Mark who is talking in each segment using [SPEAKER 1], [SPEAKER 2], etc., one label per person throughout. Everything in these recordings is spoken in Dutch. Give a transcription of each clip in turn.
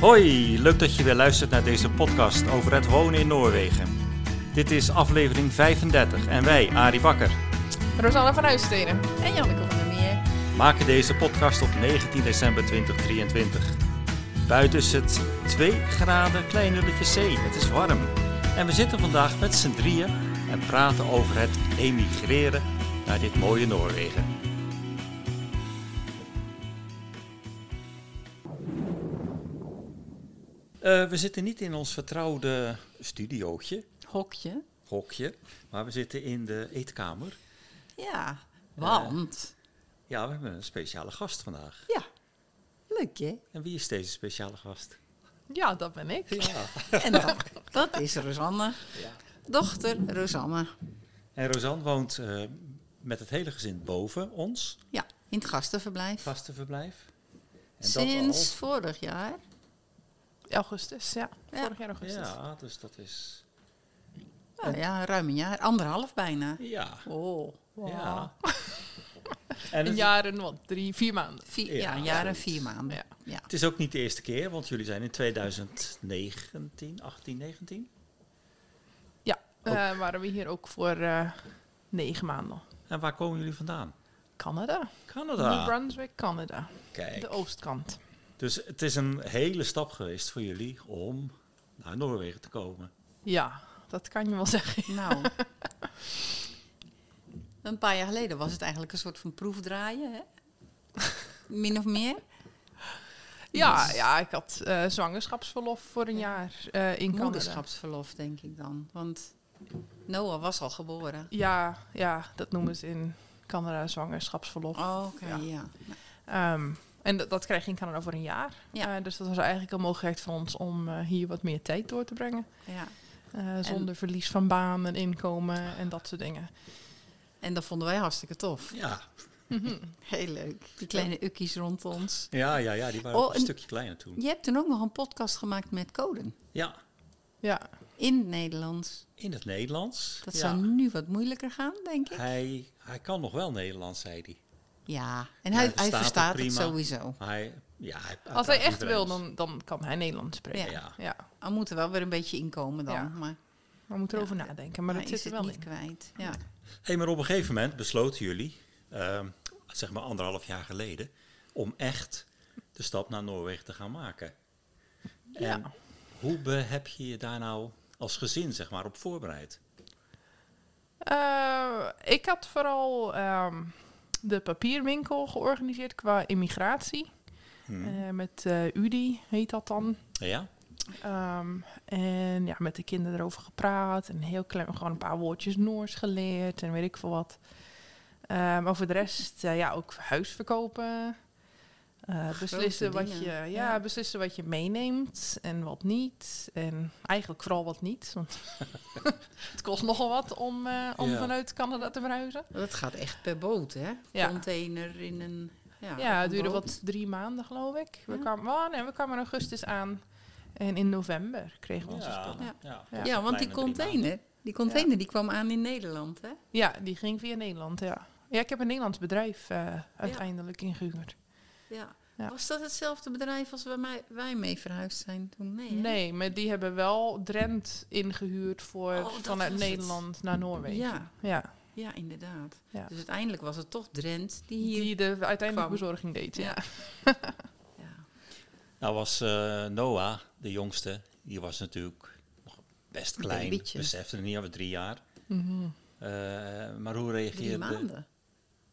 [SPEAKER 1] Hoi, leuk dat je weer luistert naar deze podcast over het wonen in Noorwegen. Dit is aflevering 35 en wij, Arie Bakker,
[SPEAKER 2] Rosanne van Huisstenen. En Janneke van der Meer.
[SPEAKER 1] maken deze podcast op 19 december 2023. Buiten is het 2 graden, klein nulletje C. Het is warm. En we zitten vandaag met z'n drieën en praten over het emigreren naar dit mooie Noorwegen. Eh, we zitten niet in ons vertrouwde studiootje,
[SPEAKER 3] Hokje.
[SPEAKER 1] hokje, maar we zitten in de eetkamer.
[SPEAKER 3] Ja, want.
[SPEAKER 1] Ja, we hebben een speciale gast vandaag.
[SPEAKER 3] Eh, Ja, leuk hè?
[SPEAKER 1] En wie is deze speciale gast?
[SPEAKER 2] Ja, dat ben ik.
[SPEAKER 1] Ja.
[SPEAKER 3] En dat, dat is Rosanne. Dochter Rosanne.
[SPEAKER 1] En Rosanne woont eh, met het hele gezin boven ons,
[SPEAKER 3] Ja, in het gastenverblijf.
[SPEAKER 1] gastenverblijf. En
[SPEAKER 3] Sinds vorig jaar.
[SPEAKER 2] Augustus, ja.
[SPEAKER 3] Ja.
[SPEAKER 2] Vorig jaar
[SPEAKER 1] al-
[SPEAKER 2] augustus.
[SPEAKER 1] Ja, dus dat is...
[SPEAKER 3] Nou ja, ruim een jaar. Anderhalf bijna.
[SPEAKER 1] Ja.
[SPEAKER 3] Oh,
[SPEAKER 2] Wow.
[SPEAKER 1] ja. En
[SPEAKER 2] Een
[SPEAKER 1] het,
[SPEAKER 2] jaar en wat, drie, vier maanden.
[SPEAKER 3] vier,
[SPEAKER 1] Ja,
[SPEAKER 3] ja, een jaar en
[SPEAKER 1] zoiets.
[SPEAKER 3] vier maanden.
[SPEAKER 2] Ja.
[SPEAKER 3] Ja.
[SPEAKER 1] het is ook niet de eerste keer, want jullie zijn in 2019, 18, 19?
[SPEAKER 2] Ja, eh, waren we hier ook voor eh, negen maanden.
[SPEAKER 1] En waar komen jullie vandaan?
[SPEAKER 2] Canada. New
[SPEAKER 1] Canada.
[SPEAKER 2] Brunswick, Canada.
[SPEAKER 1] Ah. Kijk.
[SPEAKER 2] De oostkant.
[SPEAKER 1] Dus het is een hele stap geweest voor jullie om naar Noorwegen te komen.
[SPEAKER 2] Ja, dat kan je wel zeggen.
[SPEAKER 3] Nou. Een paar jaar geleden was het eigenlijk een soort van proefdraaien, hè? Min of meer.
[SPEAKER 2] Ja, ja ik had eh, zwangerschapsverlof voor een jaar eh, in Canada.
[SPEAKER 3] Moederschapsverlof, denk ik dan. Want Noah was al geboren.
[SPEAKER 2] Ja, ja, dat noemen ze in Canada zwangerschapsverlof.
[SPEAKER 3] Oh, Oké,
[SPEAKER 2] Ja.
[SPEAKER 3] ja.
[SPEAKER 2] Ehm, en dat, dat krijg je in Canada voor een jaar.
[SPEAKER 3] Ja.
[SPEAKER 2] Eh, dus dat was eigenlijk een mogelijkheid voor ons om eh, hier wat meer tijd door te brengen.
[SPEAKER 3] ja.
[SPEAKER 2] Eh, zonder verlies van baan en inkomen en dat soort dingen.
[SPEAKER 3] En dat vonden wij hartstikke tof.
[SPEAKER 1] Ja,
[SPEAKER 3] Heel leuk. Die kleine ukkies rond ons.
[SPEAKER 1] ja, ja, ja die waren
[SPEAKER 3] Oh,
[SPEAKER 1] ook een
[SPEAKER 3] en-
[SPEAKER 1] stukje kleiner toen.
[SPEAKER 3] Je hebt toen ook nog een podcast gemaakt met coden.
[SPEAKER 1] Ja,
[SPEAKER 2] Ja,
[SPEAKER 3] In het Nederlands.
[SPEAKER 1] in het Nederlands.
[SPEAKER 3] Dat
[SPEAKER 1] ja.
[SPEAKER 3] zou nu wat moeilijker gaan, denk ik.
[SPEAKER 1] Hij, hij kan nog wel Nederlands, zei hij.
[SPEAKER 3] Ja, en
[SPEAKER 1] Ja, hij
[SPEAKER 3] hij, hij
[SPEAKER 1] verstaat
[SPEAKER 3] verstaat
[SPEAKER 1] het
[SPEAKER 3] het
[SPEAKER 1] prima.
[SPEAKER 3] sowieso.
[SPEAKER 1] Maar hij, ja, hij, hij
[SPEAKER 2] als hij
[SPEAKER 1] praat
[SPEAKER 2] echt
[SPEAKER 1] niet
[SPEAKER 2] wil,
[SPEAKER 1] Nederlands.
[SPEAKER 2] dan, dan kan hij Nederlands spreken.
[SPEAKER 3] Ja.
[SPEAKER 1] Ja.
[SPEAKER 2] Ja,
[SPEAKER 3] Hij moet er wel weer een beetje inkomen dan.
[SPEAKER 2] Ja,
[SPEAKER 3] maar
[SPEAKER 2] we moeten erover nadenken, maar
[SPEAKER 3] hij
[SPEAKER 2] dat zit
[SPEAKER 3] is
[SPEAKER 2] er
[SPEAKER 3] het
[SPEAKER 2] wel
[SPEAKER 3] niet
[SPEAKER 2] in.
[SPEAKER 3] kwijt. Ja.
[SPEAKER 1] Hey, maar op een gegeven moment besloten jullie, ehm, zeg maar anderhalf jaar geleden, om echt de stap naar Noorwegen te gaan maken. En
[SPEAKER 2] Ja.
[SPEAKER 1] hoe be- heb je je daar nou als gezin zeg maar, op voorbereid?
[SPEAKER 2] Eh, ik had vooral ehm, de papierwinkel georganiseerd qua immigratie.
[SPEAKER 1] Hm.
[SPEAKER 2] Eh, met eh, UDI heet dat dan.
[SPEAKER 1] Ja?
[SPEAKER 2] Ehm, en ja, met de kinderen erover gepraat. En heel klein, gewoon een paar woordjes Noors geleerd en weet ik veel wat. Eh, maar voor de rest, eh, ja, ook huis verkopen. Eh, beslissen, wat je,
[SPEAKER 3] dingen.
[SPEAKER 2] ja,
[SPEAKER 3] Ja.
[SPEAKER 2] beslissen wat je meeneemt en wat niet. En eigenlijk vooral wat niet. Want het kost nogal wat om, eh, om
[SPEAKER 1] Ja.
[SPEAKER 2] vanuit Canada te verhuizen.
[SPEAKER 3] Dat gaat echt per boot, hè?
[SPEAKER 2] Ja.
[SPEAKER 3] Container in een... Ja,
[SPEAKER 2] Ja,
[SPEAKER 3] op
[SPEAKER 2] het
[SPEAKER 3] een
[SPEAKER 2] duurde
[SPEAKER 3] boot.
[SPEAKER 2] wat drie maanden, geloof ik. We,
[SPEAKER 3] Ja.
[SPEAKER 2] kwamen, oh, nee, we kwamen in augustus aan. En in november kregen we onze spullen.
[SPEAKER 1] ja.
[SPEAKER 3] Ja. Ja, want die
[SPEAKER 1] Kleine drie maanden.
[SPEAKER 3] container, die container die kwam aan in Nederland, hè?
[SPEAKER 2] Ja, die ging via Nederland, ja. Ja, ik heb een Nederlands bedrijf eh, uiteindelijk ingehuurd.
[SPEAKER 3] Ja.
[SPEAKER 2] Ja.
[SPEAKER 3] Was dat hetzelfde bedrijf als waar mij, wij mee verhuisd zijn toen? Nee, hè?
[SPEAKER 2] Nee, maar die hebben wel Drent ingehuurd voor
[SPEAKER 3] Oh, dat
[SPEAKER 2] vanuit
[SPEAKER 3] was het.
[SPEAKER 2] Nederland naar Noorwegen.
[SPEAKER 3] Ja,
[SPEAKER 2] Ja,
[SPEAKER 3] ja, inderdaad.
[SPEAKER 2] Ja.
[SPEAKER 3] Dus uiteindelijk was het toch Drent die hier...
[SPEAKER 2] die de uiteindelijke
[SPEAKER 3] kwam.
[SPEAKER 2] bezorging deed, ja.
[SPEAKER 3] Ja. Ja.
[SPEAKER 1] Nou was eh, Noah, de jongste, die was natuurlijk nog best klein.
[SPEAKER 3] babytje.
[SPEAKER 1] Besefte het niet, over drie jaar.
[SPEAKER 2] Mhm.
[SPEAKER 1] Eh, maar hoe
[SPEAKER 3] Drie
[SPEAKER 1] reageerde
[SPEAKER 3] maanden.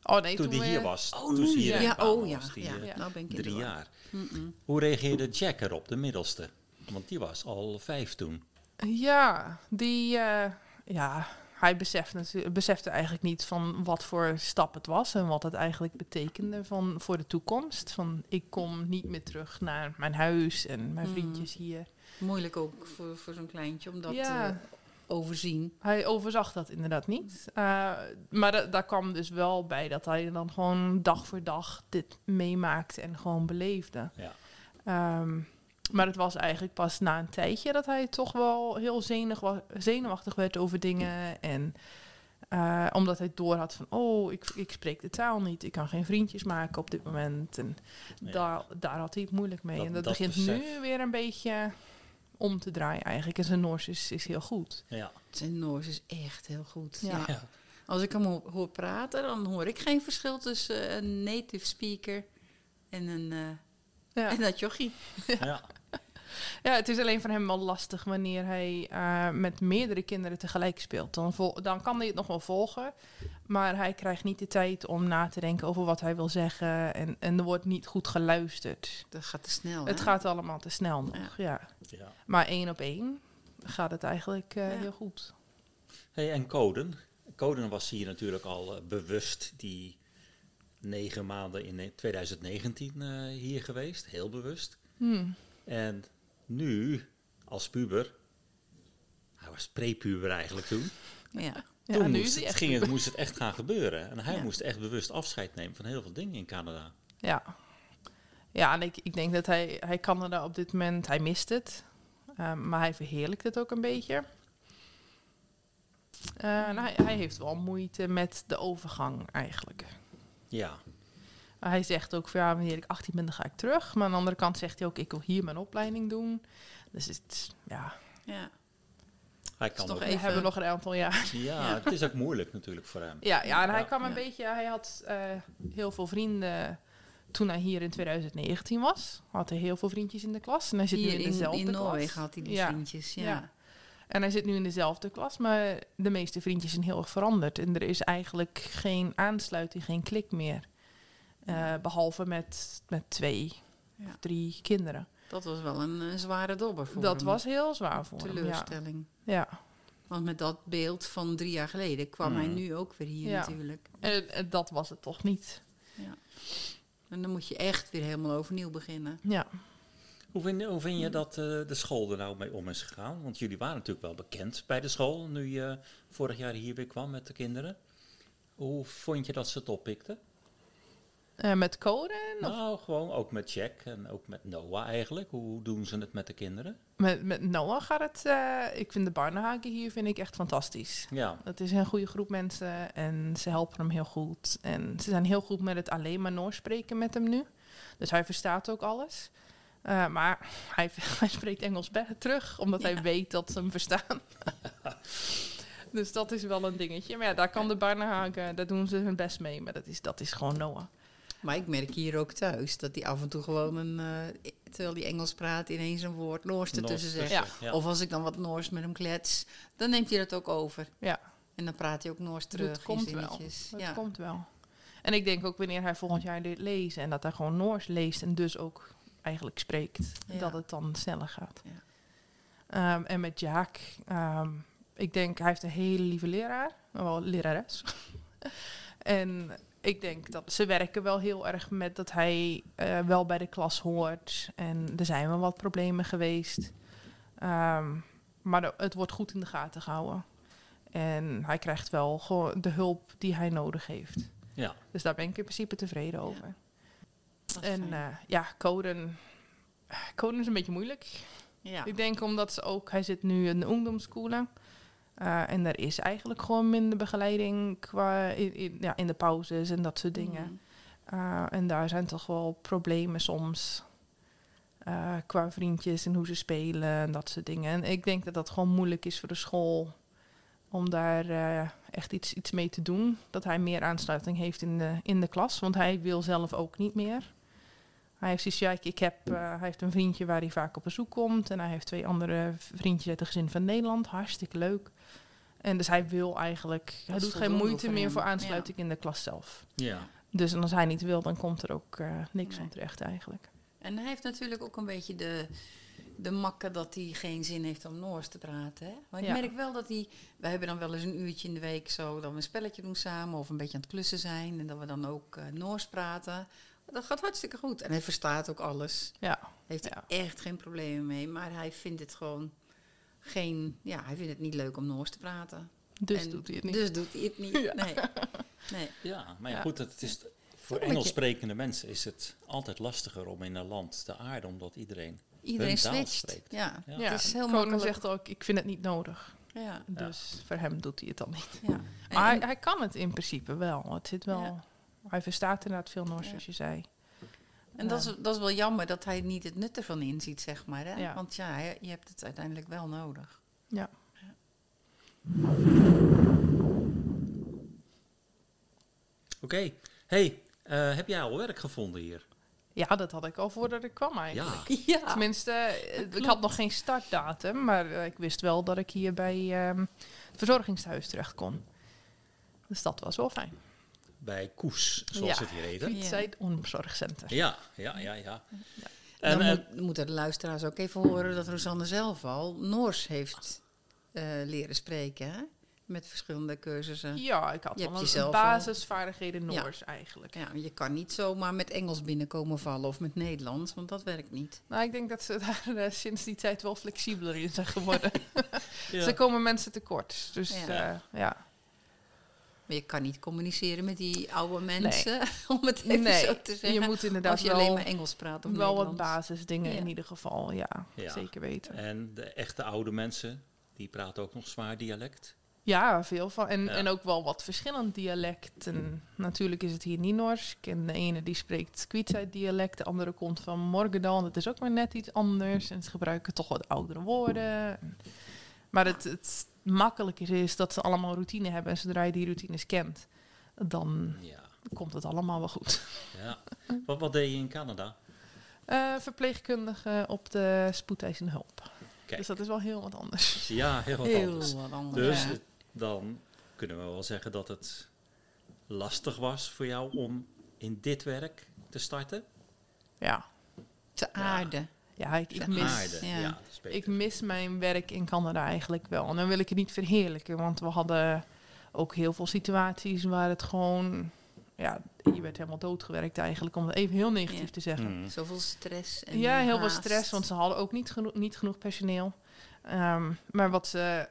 [SPEAKER 2] Oh nee,
[SPEAKER 1] toen die
[SPEAKER 2] we-
[SPEAKER 1] hier was?
[SPEAKER 3] Oh,
[SPEAKER 1] toen
[SPEAKER 3] nu,
[SPEAKER 1] ze hier
[SPEAKER 3] ja.
[SPEAKER 1] in
[SPEAKER 3] Ja,
[SPEAKER 1] kwamen,
[SPEAKER 3] oh ja.
[SPEAKER 1] was die,
[SPEAKER 3] ja.
[SPEAKER 1] eh,
[SPEAKER 2] eh,
[SPEAKER 3] Nou ben ik in de
[SPEAKER 1] drie
[SPEAKER 3] war.
[SPEAKER 1] jaar.
[SPEAKER 3] Mm-mm.
[SPEAKER 1] Hoe reageerde Jack erop, de middelste? Want die was al vijf toen.
[SPEAKER 2] Ja, die... eh, ja, hij beseft natuurlijk, besefte eigenlijk niet van wat voor stap het was... en wat het eigenlijk betekende van, voor de toekomst. Van, ik kom niet meer terug naar mijn huis en mijn
[SPEAKER 3] Mm.
[SPEAKER 2] vriendjes hier. eh,
[SPEAKER 3] Moeilijk ook voor, voor zo'n kleintje om dat
[SPEAKER 2] Ja.
[SPEAKER 3] te overzien.
[SPEAKER 2] Hij overzag dat inderdaad niet. Eh, maar da- daar kwam dus wel bij dat hij dan gewoon dag voor dag dit meemaakte en gewoon beleefde.
[SPEAKER 1] Ja.
[SPEAKER 2] Ehm, maar het was eigenlijk pas na een tijdje dat hij toch wel heel zenig wa- zenuwachtig werd over dingen. En Eh, omdat hij door had van, oh, ik, ik spreek de taal niet. Ik kan geen vriendjes maken op dit moment. En
[SPEAKER 1] Ja.
[SPEAKER 2] daar, daar had hij het moeilijk mee.
[SPEAKER 1] Dat-
[SPEAKER 2] en dat,
[SPEAKER 1] dat
[SPEAKER 2] begint
[SPEAKER 1] besef.
[SPEAKER 2] nu weer een beetje om te draaien eigenlijk. En zijn Noors is, is heel goed.
[SPEAKER 1] Ja.
[SPEAKER 3] Zijn Noors is echt heel goed.
[SPEAKER 2] Ja.
[SPEAKER 3] Ja.
[SPEAKER 1] Ja.
[SPEAKER 3] Als ik hem ho- hoor praten, dan hoor ik geen verschil tussen eh, een native speaker en een eh,
[SPEAKER 2] Ja.
[SPEAKER 3] en dat jochie.
[SPEAKER 1] Ja.
[SPEAKER 2] ja, het is alleen voor hem wel lastig wanneer hij eh, met meerdere kinderen tegelijk speelt. Dan, vol- dan kan hij het nog wel volgen. Maar hij krijgt niet de tijd om na te denken over wat hij wil zeggen. En, en er wordt niet goed geluisterd.
[SPEAKER 3] Dat gaat te snel.
[SPEAKER 2] Het
[SPEAKER 3] Oh, hè?
[SPEAKER 2] gaat allemaal te snel nog,
[SPEAKER 3] Ja.
[SPEAKER 2] ja.
[SPEAKER 1] ja.
[SPEAKER 2] Maar één op één gaat het eigenlijk eh,
[SPEAKER 3] Ja.
[SPEAKER 2] heel goed.
[SPEAKER 1] Hey, en Coden? Coden was hier natuurlijk al eh, bewust die negen maanden in ne- 2019 eh, hier geweest. Heel bewust.
[SPEAKER 2] Hmm.
[SPEAKER 1] En nu, als puber... Hij was prepuber eigenlijk toen.
[SPEAKER 3] Ja.
[SPEAKER 2] Ja,
[SPEAKER 1] toen
[SPEAKER 2] nu is
[SPEAKER 1] moest,
[SPEAKER 2] hij
[SPEAKER 1] het,
[SPEAKER 2] echt-
[SPEAKER 1] ging het, moest het echt gaan gebeuren. En hij
[SPEAKER 3] Ja.
[SPEAKER 1] moest echt bewust afscheid nemen van heel veel dingen in Canada.
[SPEAKER 2] Ja. Ja, en ik, ik denk dat hij, hij Canada op dit moment, hij mist het. Ehm, maar hij verheerlijkt het ook een beetje. Eh, en hij, hij heeft wel moeite met de overgang eigenlijk.
[SPEAKER 1] Ja,
[SPEAKER 2] Hij zegt ook van ja, wanneer ik 18 ben, dan ga ik terug. Maar aan de andere kant zegt hij ook, ik wil hier mijn opleiding doen. Dus het, is- ja,
[SPEAKER 3] ja.
[SPEAKER 1] hij kan
[SPEAKER 3] toch
[SPEAKER 1] ook.
[SPEAKER 2] we
[SPEAKER 3] Even-
[SPEAKER 2] hebben nog een aantal jaar.
[SPEAKER 1] Ja,
[SPEAKER 3] Ja.
[SPEAKER 1] het is ook moeilijk natuurlijk voor hem.
[SPEAKER 2] Ja, ja en hij
[SPEAKER 1] Ja.
[SPEAKER 2] kwam een
[SPEAKER 3] Ja.
[SPEAKER 2] beetje... Hij had eh, heel veel vrienden toen hij hier in 2019 was. Had hij heel veel vriendjes in de klas. En hij zit nu
[SPEAKER 3] Hier
[SPEAKER 2] in
[SPEAKER 3] in,
[SPEAKER 2] dezelfde
[SPEAKER 3] in
[SPEAKER 2] klas.
[SPEAKER 3] Noorwegen had hij die
[SPEAKER 2] Ja.
[SPEAKER 3] vriendjes. Ja.
[SPEAKER 2] Ja. En hij zit nu in dezelfde klas, maar de meeste vriendjes zijn heel erg veranderd. En er is eigenlijk geen aansluiting, geen klik meer. Eh, behalve met, met twee
[SPEAKER 3] Ja.
[SPEAKER 2] of drie kinderen.
[SPEAKER 3] Dat was wel een, eh, zware dobber voor
[SPEAKER 2] dat
[SPEAKER 3] hem.
[SPEAKER 2] was heel zwaar voor hem. Ja.
[SPEAKER 3] teleurstelling.
[SPEAKER 2] ja.
[SPEAKER 3] Want met dat beeld van drie jaar geleden kwam hij
[SPEAKER 1] Mhm.
[SPEAKER 3] nu ook weer hier
[SPEAKER 2] Ja.
[SPEAKER 3] natuurlijk.
[SPEAKER 2] En, en dat was het toch niet.
[SPEAKER 3] En dan moet je echt weer helemaal overnieuw beginnen.
[SPEAKER 2] Ja.
[SPEAKER 1] Hoe vind, hoe vind je dat eh, de school er nou mee om is gegaan? Want jullie waren natuurlijk wel bekend bij de school nu je vorig jaar hier weer kwam met de kinderen. Hoe vond je dat ze het oppikten?
[SPEAKER 2] Eh, met code,
[SPEAKER 1] Nou, gewoon ook met Jack en ook met Noah eigenlijk. Hoe doen ze het met de kinderen?
[SPEAKER 2] met, met Noah gaat het... eh, ik vind de Barnehaken hier vind ik echt fantastisch.
[SPEAKER 1] Ja,
[SPEAKER 2] Dat is een goede groep mensen en ze helpen hem heel goed. En ze zijn heel goed met het alleen maar Noors spreken met hem nu. Dus hij verstaat ook alles. Eh, maar hij, hij spreekt Engels be- terug, omdat
[SPEAKER 3] Ja.
[SPEAKER 2] hij weet dat ze hem verstaan. dus dat is wel een dingetje. Maar ja, daar kan de Barnehagen, daar doen ze hun best mee. Maar dat is, dat is gewoon Noah.
[SPEAKER 3] Maar ik merk hier ook thuis dat hij af en toe gewoon een... eh, terwijl hij Engels praat, ineens een woord Noors ertussen
[SPEAKER 1] Noors
[SPEAKER 3] zegt.
[SPEAKER 1] tussen, ja.
[SPEAKER 3] Of als ik dan wat Noors met hem klets, dan neemt hij dat ook over.
[SPEAKER 2] Ja.
[SPEAKER 3] En dan praat hij ook Noors terug in
[SPEAKER 2] komt wel.
[SPEAKER 3] zinnetjes.
[SPEAKER 2] Dat
[SPEAKER 3] Ja.
[SPEAKER 2] komt wel. En ik denk ook wanneer hij volgend jaar dit leest en dat hij gewoon Noors leest en dus ook eigenlijk spreekt,
[SPEAKER 3] Ja.
[SPEAKER 2] dat het dan sneller gaat.
[SPEAKER 3] Ja.
[SPEAKER 2] Ehm, en met Jaak, ehm, ik denk hij heeft een hele lieve leraar, maar wel lerares. en ik denk dat ze werken wel heel erg met dat hij eh, wel bij de klas hoort. En er zijn wel wat problemen geweest. Ehm, maar de- het wordt goed in de gaten gehouden. En hij krijgt wel gewoon de hulp die hij nodig heeft.
[SPEAKER 1] ja.
[SPEAKER 2] Dus daar ben ik in principe tevreden
[SPEAKER 3] Ja,
[SPEAKER 2] over.
[SPEAKER 3] Dat is
[SPEAKER 2] En
[SPEAKER 3] fijn.
[SPEAKER 2] eh, ja, coden. Coden is een beetje moeilijk.
[SPEAKER 3] ja.
[SPEAKER 2] eh, Ik denk omdat ze ook, hij zit nu in de ungdomsschoolen. Eh en daar is eigenlijk gewoon minder begeleiding qua in, in- ja, in de pauzes en dat soort dingen.
[SPEAKER 3] Mm.
[SPEAKER 2] Uh, en daar zijn toch wel problemen soms. eh, qua vriendjes en hoe ze spelen en dat soort dingen. En ik denk dat dat gewoon moeilijk is voor de school. Om daar eh, echt iets, iets mee te doen. Dat hij meer aansluiting heeft in de, in de klas. Want hij wil zelf ook niet meer. Hij heeft zoiets, ja, ik, ik heb, eh, hij heeft een vriendje waar hij vaak op bezoek komt. En hij heeft twee andere vriendjes uit het gezin van Nederland. Hartstikke leuk. En dus hij wil eigenlijk... hij
[SPEAKER 3] is
[SPEAKER 2] doet geen
[SPEAKER 3] voldoende
[SPEAKER 2] moeite
[SPEAKER 3] voor
[SPEAKER 2] meer
[SPEAKER 3] hem,
[SPEAKER 2] voor
[SPEAKER 3] ja.
[SPEAKER 2] aansluiting in de klas zelf.
[SPEAKER 1] ja.
[SPEAKER 2] Dus en als hij niet wil, dan komt er ook eh, niks
[SPEAKER 3] Nee.
[SPEAKER 2] van terecht eigenlijk.
[SPEAKER 3] En hij heeft natuurlijk ook een beetje de, de makke dat hij geen zin heeft om Noors te praten. Hè? Maar ik
[SPEAKER 2] Ja.
[SPEAKER 3] merk wel dat hij... Wij hebben dan wel eens een uurtje in de week zo dat we een spelletje doen samen of een beetje aan het klussen zijn. En dat we dan ook eh, Noors praten. Dat gaat hartstikke goed. En hij verstaat ook alles.
[SPEAKER 2] Ja.
[SPEAKER 3] Heeft
[SPEAKER 2] Ja.
[SPEAKER 3] er echt geen problemen mee. Maar hij vindt het gewoon geen... Ja, hij vindt het niet leuk om Noors te praten.
[SPEAKER 2] Dus
[SPEAKER 3] En
[SPEAKER 2] doet hij het niet.
[SPEAKER 3] Dus doet hij het niet. Nee. nee.
[SPEAKER 1] ja. maar ja,
[SPEAKER 2] Ja.
[SPEAKER 1] goed, het is, voor
[SPEAKER 3] Een beetje-
[SPEAKER 1] Engels sprekende mensen is het altijd lastiger om in een land te aarden, omdat iedereen
[SPEAKER 3] Iedereen
[SPEAKER 1] Hun taal
[SPEAKER 3] switcht.
[SPEAKER 1] spreekt.
[SPEAKER 3] Ja.
[SPEAKER 1] Ja.
[SPEAKER 2] ja,
[SPEAKER 3] het is heel
[SPEAKER 2] Koning
[SPEAKER 3] makkelijk.
[SPEAKER 2] zegt ook, ik vind het niet nodig.
[SPEAKER 3] Ja.
[SPEAKER 2] Dus voor hem doet hij het dan niet.
[SPEAKER 3] ja.
[SPEAKER 2] Maar hij,
[SPEAKER 3] En-
[SPEAKER 2] hij kan het in principe wel. Het zit wel.
[SPEAKER 3] Ja.
[SPEAKER 2] Hij verstaat inderdaad veel Noors,
[SPEAKER 3] Ja.
[SPEAKER 2] zoals je zei.
[SPEAKER 3] En dat is, dat is wel jammer dat hij niet het nut ervan inziet, zeg maar. Hè?
[SPEAKER 2] Ja.
[SPEAKER 3] Want ja, je- je hebt het uiteindelijk wel nodig.
[SPEAKER 2] Ja.
[SPEAKER 1] Oké. Hey, eh, heb jij al werk gevonden hier?
[SPEAKER 2] Ja, dat had ik al voordat ik kwam eigenlijk.
[SPEAKER 1] Ja.
[SPEAKER 3] Ja.
[SPEAKER 2] Tenminste, eh, ik had nog geen startdatum, maar eh, ik wist wel dat ik hier bij ehm, het verzorgingshuis terecht kon. Dus dat was wel fijn.
[SPEAKER 1] Bij Koes, zoals
[SPEAKER 2] Ja.
[SPEAKER 1] het hier heette.
[SPEAKER 2] Piet
[SPEAKER 3] Ja.
[SPEAKER 2] zei het onbezorgcentrum.
[SPEAKER 1] Ja, ja, ja, ja. En,
[SPEAKER 3] Dan
[SPEAKER 1] eh,
[SPEAKER 3] moet, moeten de luisteraars ook even horen dat Rosanne zelf al Noors heeft eh, leren spreken. Hè? Met verschillende cursussen.
[SPEAKER 2] Ja, ik had
[SPEAKER 3] Je hebt
[SPEAKER 2] wel een
[SPEAKER 3] jezelf
[SPEAKER 2] basisvaardigheden
[SPEAKER 3] al. Ja.
[SPEAKER 2] Noors eigenlijk.
[SPEAKER 3] Ja, je kan niet zomaar met Engels binnenkomen vallen of met Nederlands, want dat werkt niet.
[SPEAKER 2] Nou, ik denk dat ze daar eh, sinds die tijd wel flexibeler in zijn geworden.
[SPEAKER 1] ja.
[SPEAKER 2] Ze komen mensen tekort. Dus
[SPEAKER 3] Ja.
[SPEAKER 2] ja. ja.
[SPEAKER 3] Maar je kan niet communiceren met die oude mensen, om het even
[SPEAKER 2] Nee,
[SPEAKER 3] zo te
[SPEAKER 2] je
[SPEAKER 3] zeggen.
[SPEAKER 2] moet inderdaad
[SPEAKER 3] als je
[SPEAKER 2] wel,
[SPEAKER 3] alleen maar Engels praat of
[SPEAKER 2] wel wat
[SPEAKER 3] Nederlands.
[SPEAKER 2] basisdingen
[SPEAKER 3] Ja.
[SPEAKER 2] in ieder geval. Ja,
[SPEAKER 1] Ja.
[SPEAKER 2] zeker weten.
[SPEAKER 1] en de echte oude mensen, die praten ook nog zwaar dialect.
[SPEAKER 2] Ja, veel van. En,
[SPEAKER 1] Ja.
[SPEAKER 2] en ook wel wat verschillend dialect. En natuurlijk is het hier niet Nors. Ik ken de ene die spreekt Kwietzijd dialect, de andere komt van Morgendal. Dat is ook maar net iets anders. En ze gebruiken toch wat oudere woorden. Maar het, het makkelijker is dat ze allemaal routine hebben. En zodra je die routines kent, dan
[SPEAKER 1] Ja,
[SPEAKER 2] komt het allemaal wel goed.
[SPEAKER 1] ja. Wat, wat deed je in Canada?
[SPEAKER 2] Eh, verpleegkundige op de spoedeisende hulp.
[SPEAKER 1] Kijk.
[SPEAKER 2] Dus dat is wel heel wat anders.
[SPEAKER 1] Ja, heel wat
[SPEAKER 3] Heel
[SPEAKER 1] anders.
[SPEAKER 3] wat anders.
[SPEAKER 1] Dus
[SPEAKER 3] ja.
[SPEAKER 1] het- dan kunnen we wel zeggen dat het lastig was voor jou om in dit werk te starten.
[SPEAKER 2] Ja,
[SPEAKER 3] te aarde.
[SPEAKER 2] ja ik, ik
[SPEAKER 3] Zeg
[SPEAKER 2] mis...
[SPEAKER 3] maar.
[SPEAKER 1] Aarde, ja.
[SPEAKER 3] ja.
[SPEAKER 1] dat is beter.
[SPEAKER 2] Ik mis mijn werk in Canada eigenlijk wel. En dan wil ik het niet verheerlijken, want we hadden ook heel veel situaties waar het gewoon. Ja, je werd helemaal doodgewerkt eigenlijk, om het even heel negatief
[SPEAKER 3] Ja.
[SPEAKER 2] te zeggen.
[SPEAKER 1] Hmm.
[SPEAKER 3] Zoveel stress. En
[SPEAKER 2] Ja, heel veel
[SPEAKER 3] haast.
[SPEAKER 2] stress, want ze hadden ook niet, geno- niet genoeg personeel. Ehm, maar wat ze.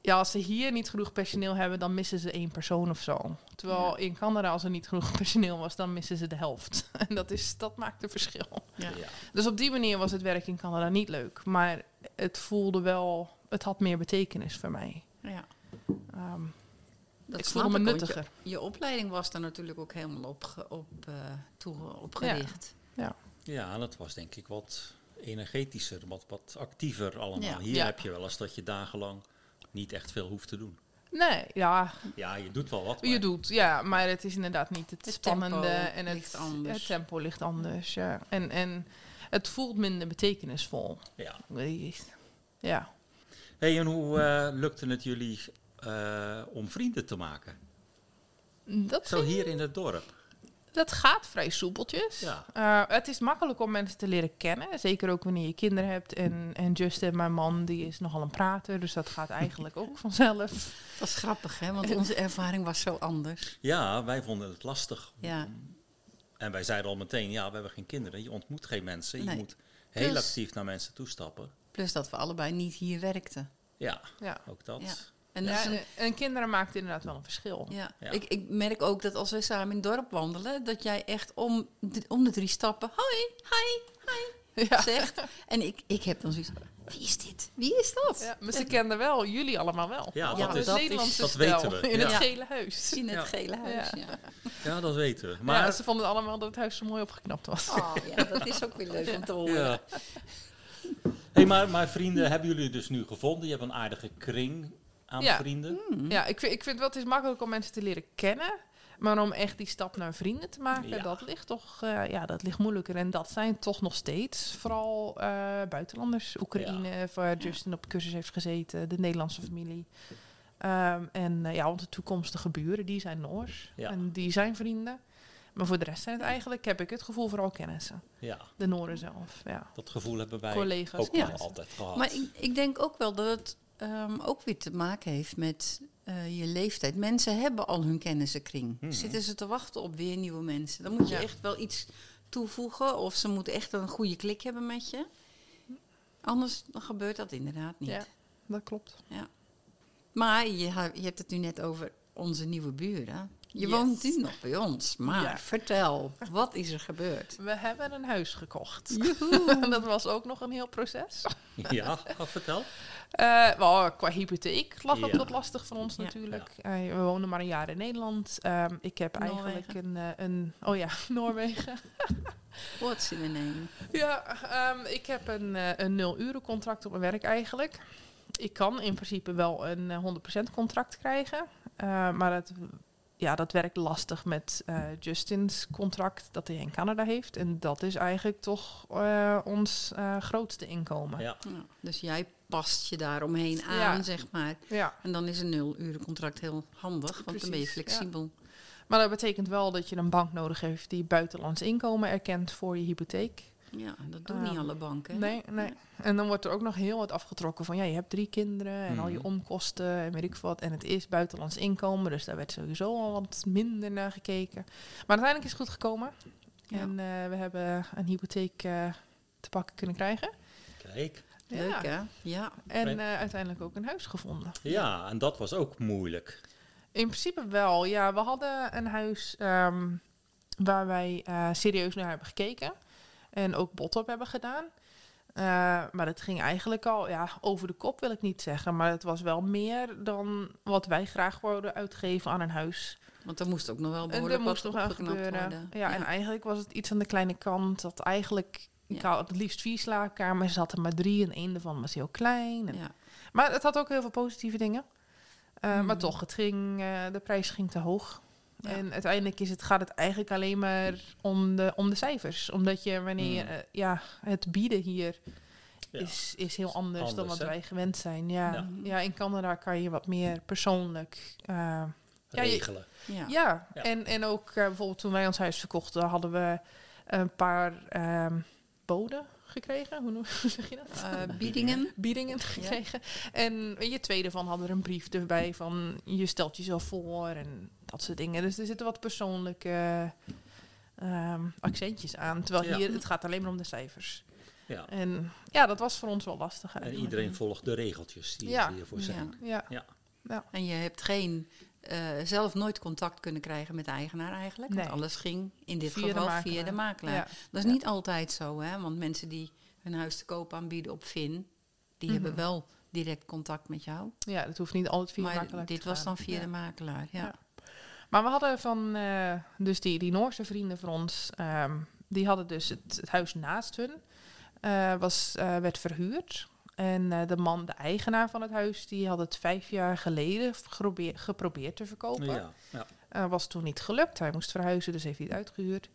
[SPEAKER 2] Ja, als ze hier niet genoeg personeel hebben, dan missen ze één persoon of zo. Terwijl
[SPEAKER 3] Ja.
[SPEAKER 2] in Canada, als er niet genoeg personeel was, dan missen ze de helft. En dat, is, dat maakt een verschil.
[SPEAKER 3] Ja.
[SPEAKER 1] Ja.
[SPEAKER 2] Dus op die manier was het werk in Canada niet leuk. Maar het voelde wel, het had meer betekenis voor mij.
[SPEAKER 3] Ja.
[SPEAKER 2] Ehm,
[SPEAKER 3] Dat
[SPEAKER 2] ik
[SPEAKER 3] snap
[SPEAKER 2] voelde me
[SPEAKER 3] want je-
[SPEAKER 2] nuttiger.
[SPEAKER 3] Je, opleiding was daar natuurlijk ook helemaal op, ge- op eh, toe, opgericht.
[SPEAKER 1] Ja, dat was denk ik wat energetischer, wat, wat actiever allemaal.
[SPEAKER 3] Ja.
[SPEAKER 1] Hier
[SPEAKER 2] Ja.
[SPEAKER 1] heb je wel eens dat je dagenlang niet echt veel hoeft te doen.
[SPEAKER 2] Nee, ja,
[SPEAKER 1] Ja, je doet wel wat.
[SPEAKER 2] je
[SPEAKER 1] maar-
[SPEAKER 2] doet, ja, maar het is inderdaad niet het,
[SPEAKER 3] Het
[SPEAKER 2] spannende
[SPEAKER 3] tempo
[SPEAKER 2] en het,
[SPEAKER 3] ligt anders.
[SPEAKER 2] het tempo ligt anders. Ja. En, en het voelt minder betekenisvol.
[SPEAKER 1] Ja.
[SPEAKER 2] Ja.
[SPEAKER 1] Hey, en hoe eh, lukte het jullie eh, om vrienden te maken?
[SPEAKER 2] Dat,
[SPEAKER 1] Zo hier in het dorp.
[SPEAKER 2] dat gaat vrij soepeltjes.
[SPEAKER 1] Ja.
[SPEAKER 2] Eh, het is makkelijk om mensen te leren kennen. Zeker ook wanneer je kinderen hebt. En, en Justin, mijn man, die is nogal een prater. Dus dat gaat eigenlijk ook vanzelf.
[SPEAKER 3] Dat is grappig, hè? Want onze ervaring was zo anders.
[SPEAKER 1] Ja, wij vonden het lastig.
[SPEAKER 3] Ja.
[SPEAKER 1] En wij zeiden al meteen, ja, we hebben geen kinderen. Je ontmoet geen mensen. Je
[SPEAKER 3] Nee.
[SPEAKER 1] moet heel
[SPEAKER 3] Dus-
[SPEAKER 1] actief naar mensen toestappen.
[SPEAKER 3] Plus dat we allebei niet hier werkten.
[SPEAKER 1] Ja,
[SPEAKER 2] Ja.
[SPEAKER 1] ook dat.
[SPEAKER 3] Ja. eh, En dat
[SPEAKER 2] Ja,
[SPEAKER 3] is een-
[SPEAKER 2] en, en kinderen maakt inderdaad wel een verschil.
[SPEAKER 3] ja.
[SPEAKER 1] Ja.
[SPEAKER 3] Ik, ik merk ook dat als wij samen in het dorp wandelen, dat jij echt om de, om de drie stappen hoi, hi
[SPEAKER 2] Ja.
[SPEAKER 3] zegt. En ik, ik heb dan zoiets wie is dit? Wie is dat?
[SPEAKER 2] Ja, maar ze kenden wel, jullie allemaal wel.
[SPEAKER 1] Ja,
[SPEAKER 2] Want
[SPEAKER 1] dat
[SPEAKER 2] het
[SPEAKER 1] is-
[SPEAKER 3] dat
[SPEAKER 2] Nederlandse
[SPEAKER 1] is- dat
[SPEAKER 2] spel
[SPEAKER 1] weten we,
[SPEAKER 2] in
[SPEAKER 1] ja.
[SPEAKER 2] het gele huis.
[SPEAKER 3] In het
[SPEAKER 1] Ja.
[SPEAKER 3] gele huis. Ja.
[SPEAKER 1] Ja, dat weten we.
[SPEAKER 2] Maar
[SPEAKER 1] Maar
[SPEAKER 2] ze vonden allemaal dat het huis zo mooi opgeknapt was.
[SPEAKER 3] Oh, ja, dat is ook weer leuk om te horen.
[SPEAKER 1] Ja. Hey, maar, maar vrienden hebben jullie dus nu gevonden. Je hebt een aardige kring aan
[SPEAKER 2] Ja.
[SPEAKER 1] vrienden.
[SPEAKER 2] Ja, ik vind, ik vind wel, het is makkelijk om mensen te leren kennen. Maar om echt die stap naar vrienden te maken,
[SPEAKER 1] Ja.
[SPEAKER 2] dat ligt toch eh, ja, dat ligt moeilijker. En dat zijn toch nog steeds vooral eh, buitenlanders. Oekraïne, waar Justin op cursus heeft gezeten, de Nederlandse familie. Ehm, en eh, ja, onze toekomstige buren, die zijn Noors.
[SPEAKER 1] Ja.
[SPEAKER 2] En die zijn vrienden. Maar voor de rest zijn het eigenlijk, heb ik het gevoel, vooral kennissen.
[SPEAKER 1] Ja,
[SPEAKER 2] De Nooren zelf, ja.
[SPEAKER 1] dat gevoel hebben wij
[SPEAKER 2] Collega's.
[SPEAKER 1] ook
[SPEAKER 2] Ja.
[SPEAKER 1] wel altijd gehad.
[SPEAKER 3] Maar ik, ik denk ook wel dat het ehm, ook weer te maken heeft met eh, je leeftijd. Mensen hebben al hun kennissenkring.
[SPEAKER 1] Mhm.
[SPEAKER 3] Zitten ze te wachten op weer nieuwe mensen? Dan moet je
[SPEAKER 2] Hmm. Ja.
[SPEAKER 3] echt wel iets toevoegen of ze moeten echt een goede klik hebben met je. Anders dan gebeurt dat inderdaad niet.
[SPEAKER 2] Ja, dat klopt.
[SPEAKER 3] Maar je, ha- je hebt het nu net over onze nieuwe buren. Je
[SPEAKER 2] Yes.
[SPEAKER 3] woont nu nog bij ons, maar
[SPEAKER 2] Ja.
[SPEAKER 3] vertel, wat is er gebeurd?
[SPEAKER 2] We hebben een huis gekocht.
[SPEAKER 3] Joehoe.
[SPEAKER 2] dat was ook nog een heel proces.
[SPEAKER 1] Ja, oh, vertel.
[SPEAKER 2] Eh, wel, qua hypotheek lag dat
[SPEAKER 1] Ja.
[SPEAKER 2] wat lastig voor ons
[SPEAKER 3] Ja.
[SPEAKER 2] natuurlijk. Eh, we woonden maar een jaar in Nederland. Ehm, ik heb
[SPEAKER 3] Noorwegen.
[SPEAKER 2] eigenlijk een, eh, een... Oh ja, Noorwegen.
[SPEAKER 3] What's in the name?
[SPEAKER 2] ja, ehm, ik heb een, eh een nul-uren contract op mijn werk eigenlijk. Ik kan in principe wel een eh, 100% contract krijgen. eh, maar dat, ja, dat werkt lastig met eh, Justins contract dat hij in Canada heeft. En dat is eigenlijk toch eh, ons eh, grootste inkomen.
[SPEAKER 1] Ja.
[SPEAKER 3] Ja, dus jij past je daar omheen aan,
[SPEAKER 2] Ja.
[SPEAKER 3] zeg maar.
[SPEAKER 2] ja.
[SPEAKER 3] En dan is een nul-urencontract heel handig, want dan ben je
[SPEAKER 2] Precies,
[SPEAKER 3] flexibel.
[SPEAKER 2] Maar dat betekent wel dat je een bank nodig heeft die buitenlands inkomen erkent voor je hypotheek.
[SPEAKER 3] Ja, dat doen
[SPEAKER 2] Ehm,
[SPEAKER 3] niet alle banken. hè?
[SPEAKER 2] Nee, nee. En dan wordt er ook nog heel wat afgetrokken van ja, je hebt drie kinderen en al je
[SPEAKER 1] Mhm.
[SPEAKER 2] omkosten en weet ik veel wat. En het is buitenlands inkomen, dus daar werd sowieso al wat minder naar gekeken. Maar uiteindelijk is het goed gekomen.
[SPEAKER 3] Ja.
[SPEAKER 2] En eh, we hebben een hypotheek eh, te pakken kunnen krijgen.
[SPEAKER 1] Kijk.
[SPEAKER 2] Ja.
[SPEAKER 3] Leuk, hè? Ja.
[SPEAKER 2] En
[SPEAKER 1] Ben-
[SPEAKER 2] eh, uiteindelijk ook een huis gevonden.
[SPEAKER 1] Ja, en dat was ook moeilijk.
[SPEAKER 2] In principe wel, ja. We hadden een huis ehm, waar wij eh, serieus naar hebben gekeken. En ook bot op hebben gedaan. Eh, maar dat ging eigenlijk al ja, over de kop, wil ik niet zeggen. Maar het was wel meer dan wat wij graag wilden uitgeven aan een huis.
[SPEAKER 3] Want er moest ook nog wel
[SPEAKER 2] En
[SPEAKER 3] behoorlijk
[SPEAKER 2] er moest
[SPEAKER 3] wat
[SPEAKER 2] nog aan
[SPEAKER 3] opgeknapt
[SPEAKER 2] gebeuren.
[SPEAKER 3] worden.
[SPEAKER 2] Ja, en eigenlijk was het iets aan de kleine kant. Dat eigenlijk, ik
[SPEAKER 3] Ja.
[SPEAKER 2] had het liefst vier slaapkamers, zat er maar drie. En één daarvan was heel klein. En
[SPEAKER 3] Ja.
[SPEAKER 2] maar het had ook heel veel positieve dingen. Uh,
[SPEAKER 3] Mhm.
[SPEAKER 1] Hmm.
[SPEAKER 2] Maar toch, het ging, eh, de prijs ging te hoog.
[SPEAKER 3] Ja.
[SPEAKER 2] En uiteindelijk is het, gaat het eigenlijk alleen maar om de, om de cijfers. Omdat je wanneer,
[SPEAKER 1] Mm.
[SPEAKER 2] eh, ja, het bieden hier
[SPEAKER 1] Ja.
[SPEAKER 2] is, ehm, is heel anders, dan
[SPEAKER 1] anders,
[SPEAKER 2] wat
[SPEAKER 1] hè?
[SPEAKER 2] wij gewend zijn. Ja.
[SPEAKER 1] Ja.
[SPEAKER 2] Ja. in Canada kan je wat meer persoonlijk. eh, Ja, je-
[SPEAKER 1] Regelen.
[SPEAKER 3] Ja.
[SPEAKER 2] ja.
[SPEAKER 3] Ja.
[SPEAKER 1] Ja.
[SPEAKER 2] En, en ook eh, bijvoorbeeld toen wij ons huis verkochten, hadden we een paar ehm, boden gekregen. Hoe, noem- hoe zeg je dat?
[SPEAKER 3] Eh, biedingen.
[SPEAKER 2] biedingen gekregen. En weet je, twee daarvan hadden er een brief erbij van je stelt jezelf voor en dat soort dingen. Dus er zitten wat persoonlijke ehm, accentjes aan. Terwijl
[SPEAKER 1] Ja.
[SPEAKER 2] hier, het gaat alleen maar om de cijfers.
[SPEAKER 1] Ja.
[SPEAKER 2] En ja, dat was voor ons wel lastig
[SPEAKER 1] En
[SPEAKER 2] eigenlijk.
[SPEAKER 1] iedereen volgt de regeltjes die
[SPEAKER 2] Ja.
[SPEAKER 1] hiervoor zijn.
[SPEAKER 2] Ja,
[SPEAKER 3] En je hebt geen, eh, zelf nooit contact kunnen krijgen met de eigenaar eigenlijk.
[SPEAKER 2] Nee.
[SPEAKER 3] Want alles ging in dit
[SPEAKER 2] Via de
[SPEAKER 3] geval via
[SPEAKER 2] makelaar.
[SPEAKER 3] de makelaar.
[SPEAKER 2] ja.
[SPEAKER 3] Dat is
[SPEAKER 2] Ja.
[SPEAKER 3] niet altijd zo, hè? Want mensen die hun huis te koop aanbieden op Vin, die hebben
[SPEAKER 2] Mhm.
[SPEAKER 3] wel direct contact met jou.
[SPEAKER 2] ja, dat hoeft niet altijd via de
[SPEAKER 3] maar
[SPEAKER 2] makelaar
[SPEAKER 3] dit
[SPEAKER 2] te
[SPEAKER 3] was
[SPEAKER 2] gaan.
[SPEAKER 3] dan via
[SPEAKER 2] Ja.
[SPEAKER 3] de makelaar, ja.
[SPEAKER 2] Ja. Maar we hadden van, eh, dus die, die Noorse vrienden van ons, ehm, die hadden dus het, het huis naast hun, eh, was, eh, werd verhuurd. En eh, de man, de eigenaar van het huis, die had het vijf jaar geleden geprobeer- geprobeerd te verkopen.
[SPEAKER 1] Ja. ja.
[SPEAKER 2] Eh, was toen niet gelukt, hij moest verhuizen, dus heeft hij het uitgehuurd.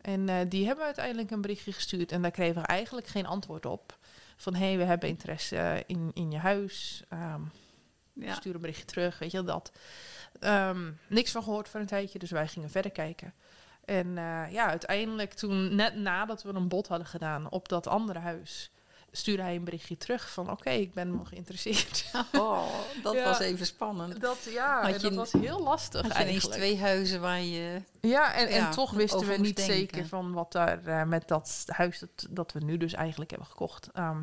[SPEAKER 2] En eh, die hebben uiteindelijk een berichtje gestuurd en daar kregen we eigenlijk geen antwoord op. Van hé, hey, we hebben interesse eh, in, in je huis. ehm,
[SPEAKER 3] Ja.
[SPEAKER 2] Stuur een berichtje terug, weet je wel, dat. Ehm, niks van gehoord voor een tijdje, dus wij gingen verder kijken. En eh, ja, uiteindelijk toen, net nadat we een bod hadden gedaan op dat andere huis, stuurde hij een berichtje terug van oké, ik ben wel geïnteresseerd.
[SPEAKER 3] Oh, dat
[SPEAKER 2] Ja.
[SPEAKER 3] was even spannend.
[SPEAKER 2] Dat ja,
[SPEAKER 3] Had
[SPEAKER 2] en
[SPEAKER 3] je
[SPEAKER 2] dat
[SPEAKER 3] een-
[SPEAKER 2] was heel lastig
[SPEAKER 3] Had je ineens
[SPEAKER 2] eigenlijk.
[SPEAKER 3] twee huizen waar je...
[SPEAKER 2] Ja, en,
[SPEAKER 3] Ja,
[SPEAKER 2] en toch
[SPEAKER 3] over
[SPEAKER 2] wisten we
[SPEAKER 3] moest
[SPEAKER 2] niet
[SPEAKER 3] denken.
[SPEAKER 2] zeker van wat daar eh, met dat huis dat, dat we nu dus eigenlijk hebben gekocht, ehm,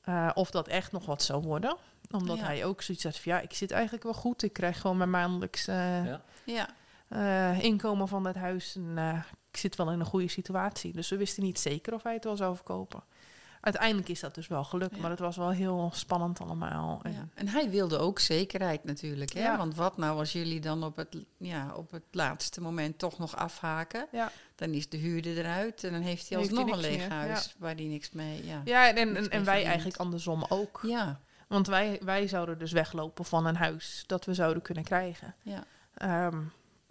[SPEAKER 2] eh, of dat echt nog wat zou worden omdat
[SPEAKER 3] Ja.
[SPEAKER 2] hij ook zoiets had van ja, ik zit eigenlijk wel goed. Ik krijg gewoon mijn maandelijks eh,
[SPEAKER 1] Ja.
[SPEAKER 3] Ja,
[SPEAKER 2] eh, inkomen van dat huis. En, eh, ik zit wel in een goede situatie. Dus we wisten niet zeker of hij het wel zou verkopen. Uiteindelijk is dat dus wel gelukt,
[SPEAKER 3] Ja.
[SPEAKER 2] maar het was wel heel spannend allemaal. En,
[SPEAKER 3] ja. En hij wilde ook zekerheid natuurlijk. Hè?
[SPEAKER 2] Oh Ja.
[SPEAKER 3] Want wat nou als jullie dan op het, ja, op het laatste moment toch nog afhaken?
[SPEAKER 2] Ja.
[SPEAKER 3] Dan is de huurder eruit en dan heeft
[SPEAKER 2] Dan
[SPEAKER 3] hij
[SPEAKER 2] heeft
[SPEAKER 3] alsnog
[SPEAKER 2] hij
[SPEAKER 3] een
[SPEAKER 2] niks
[SPEAKER 3] leeg
[SPEAKER 2] meer,
[SPEAKER 3] huis waar hij niks mee... Ja, ja.
[SPEAKER 2] ja, en, en,
[SPEAKER 3] Niks
[SPEAKER 2] en,
[SPEAKER 3] mee
[SPEAKER 2] wij
[SPEAKER 3] verdiend.
[SPEAKER 2] eigenlijk andersom ook.
[SPEAKER 3] ja.
[SPEAKER 2] Want wij, wij zouden dus weglopen van een huis dat we zouden kunnen krijgen. Ehm,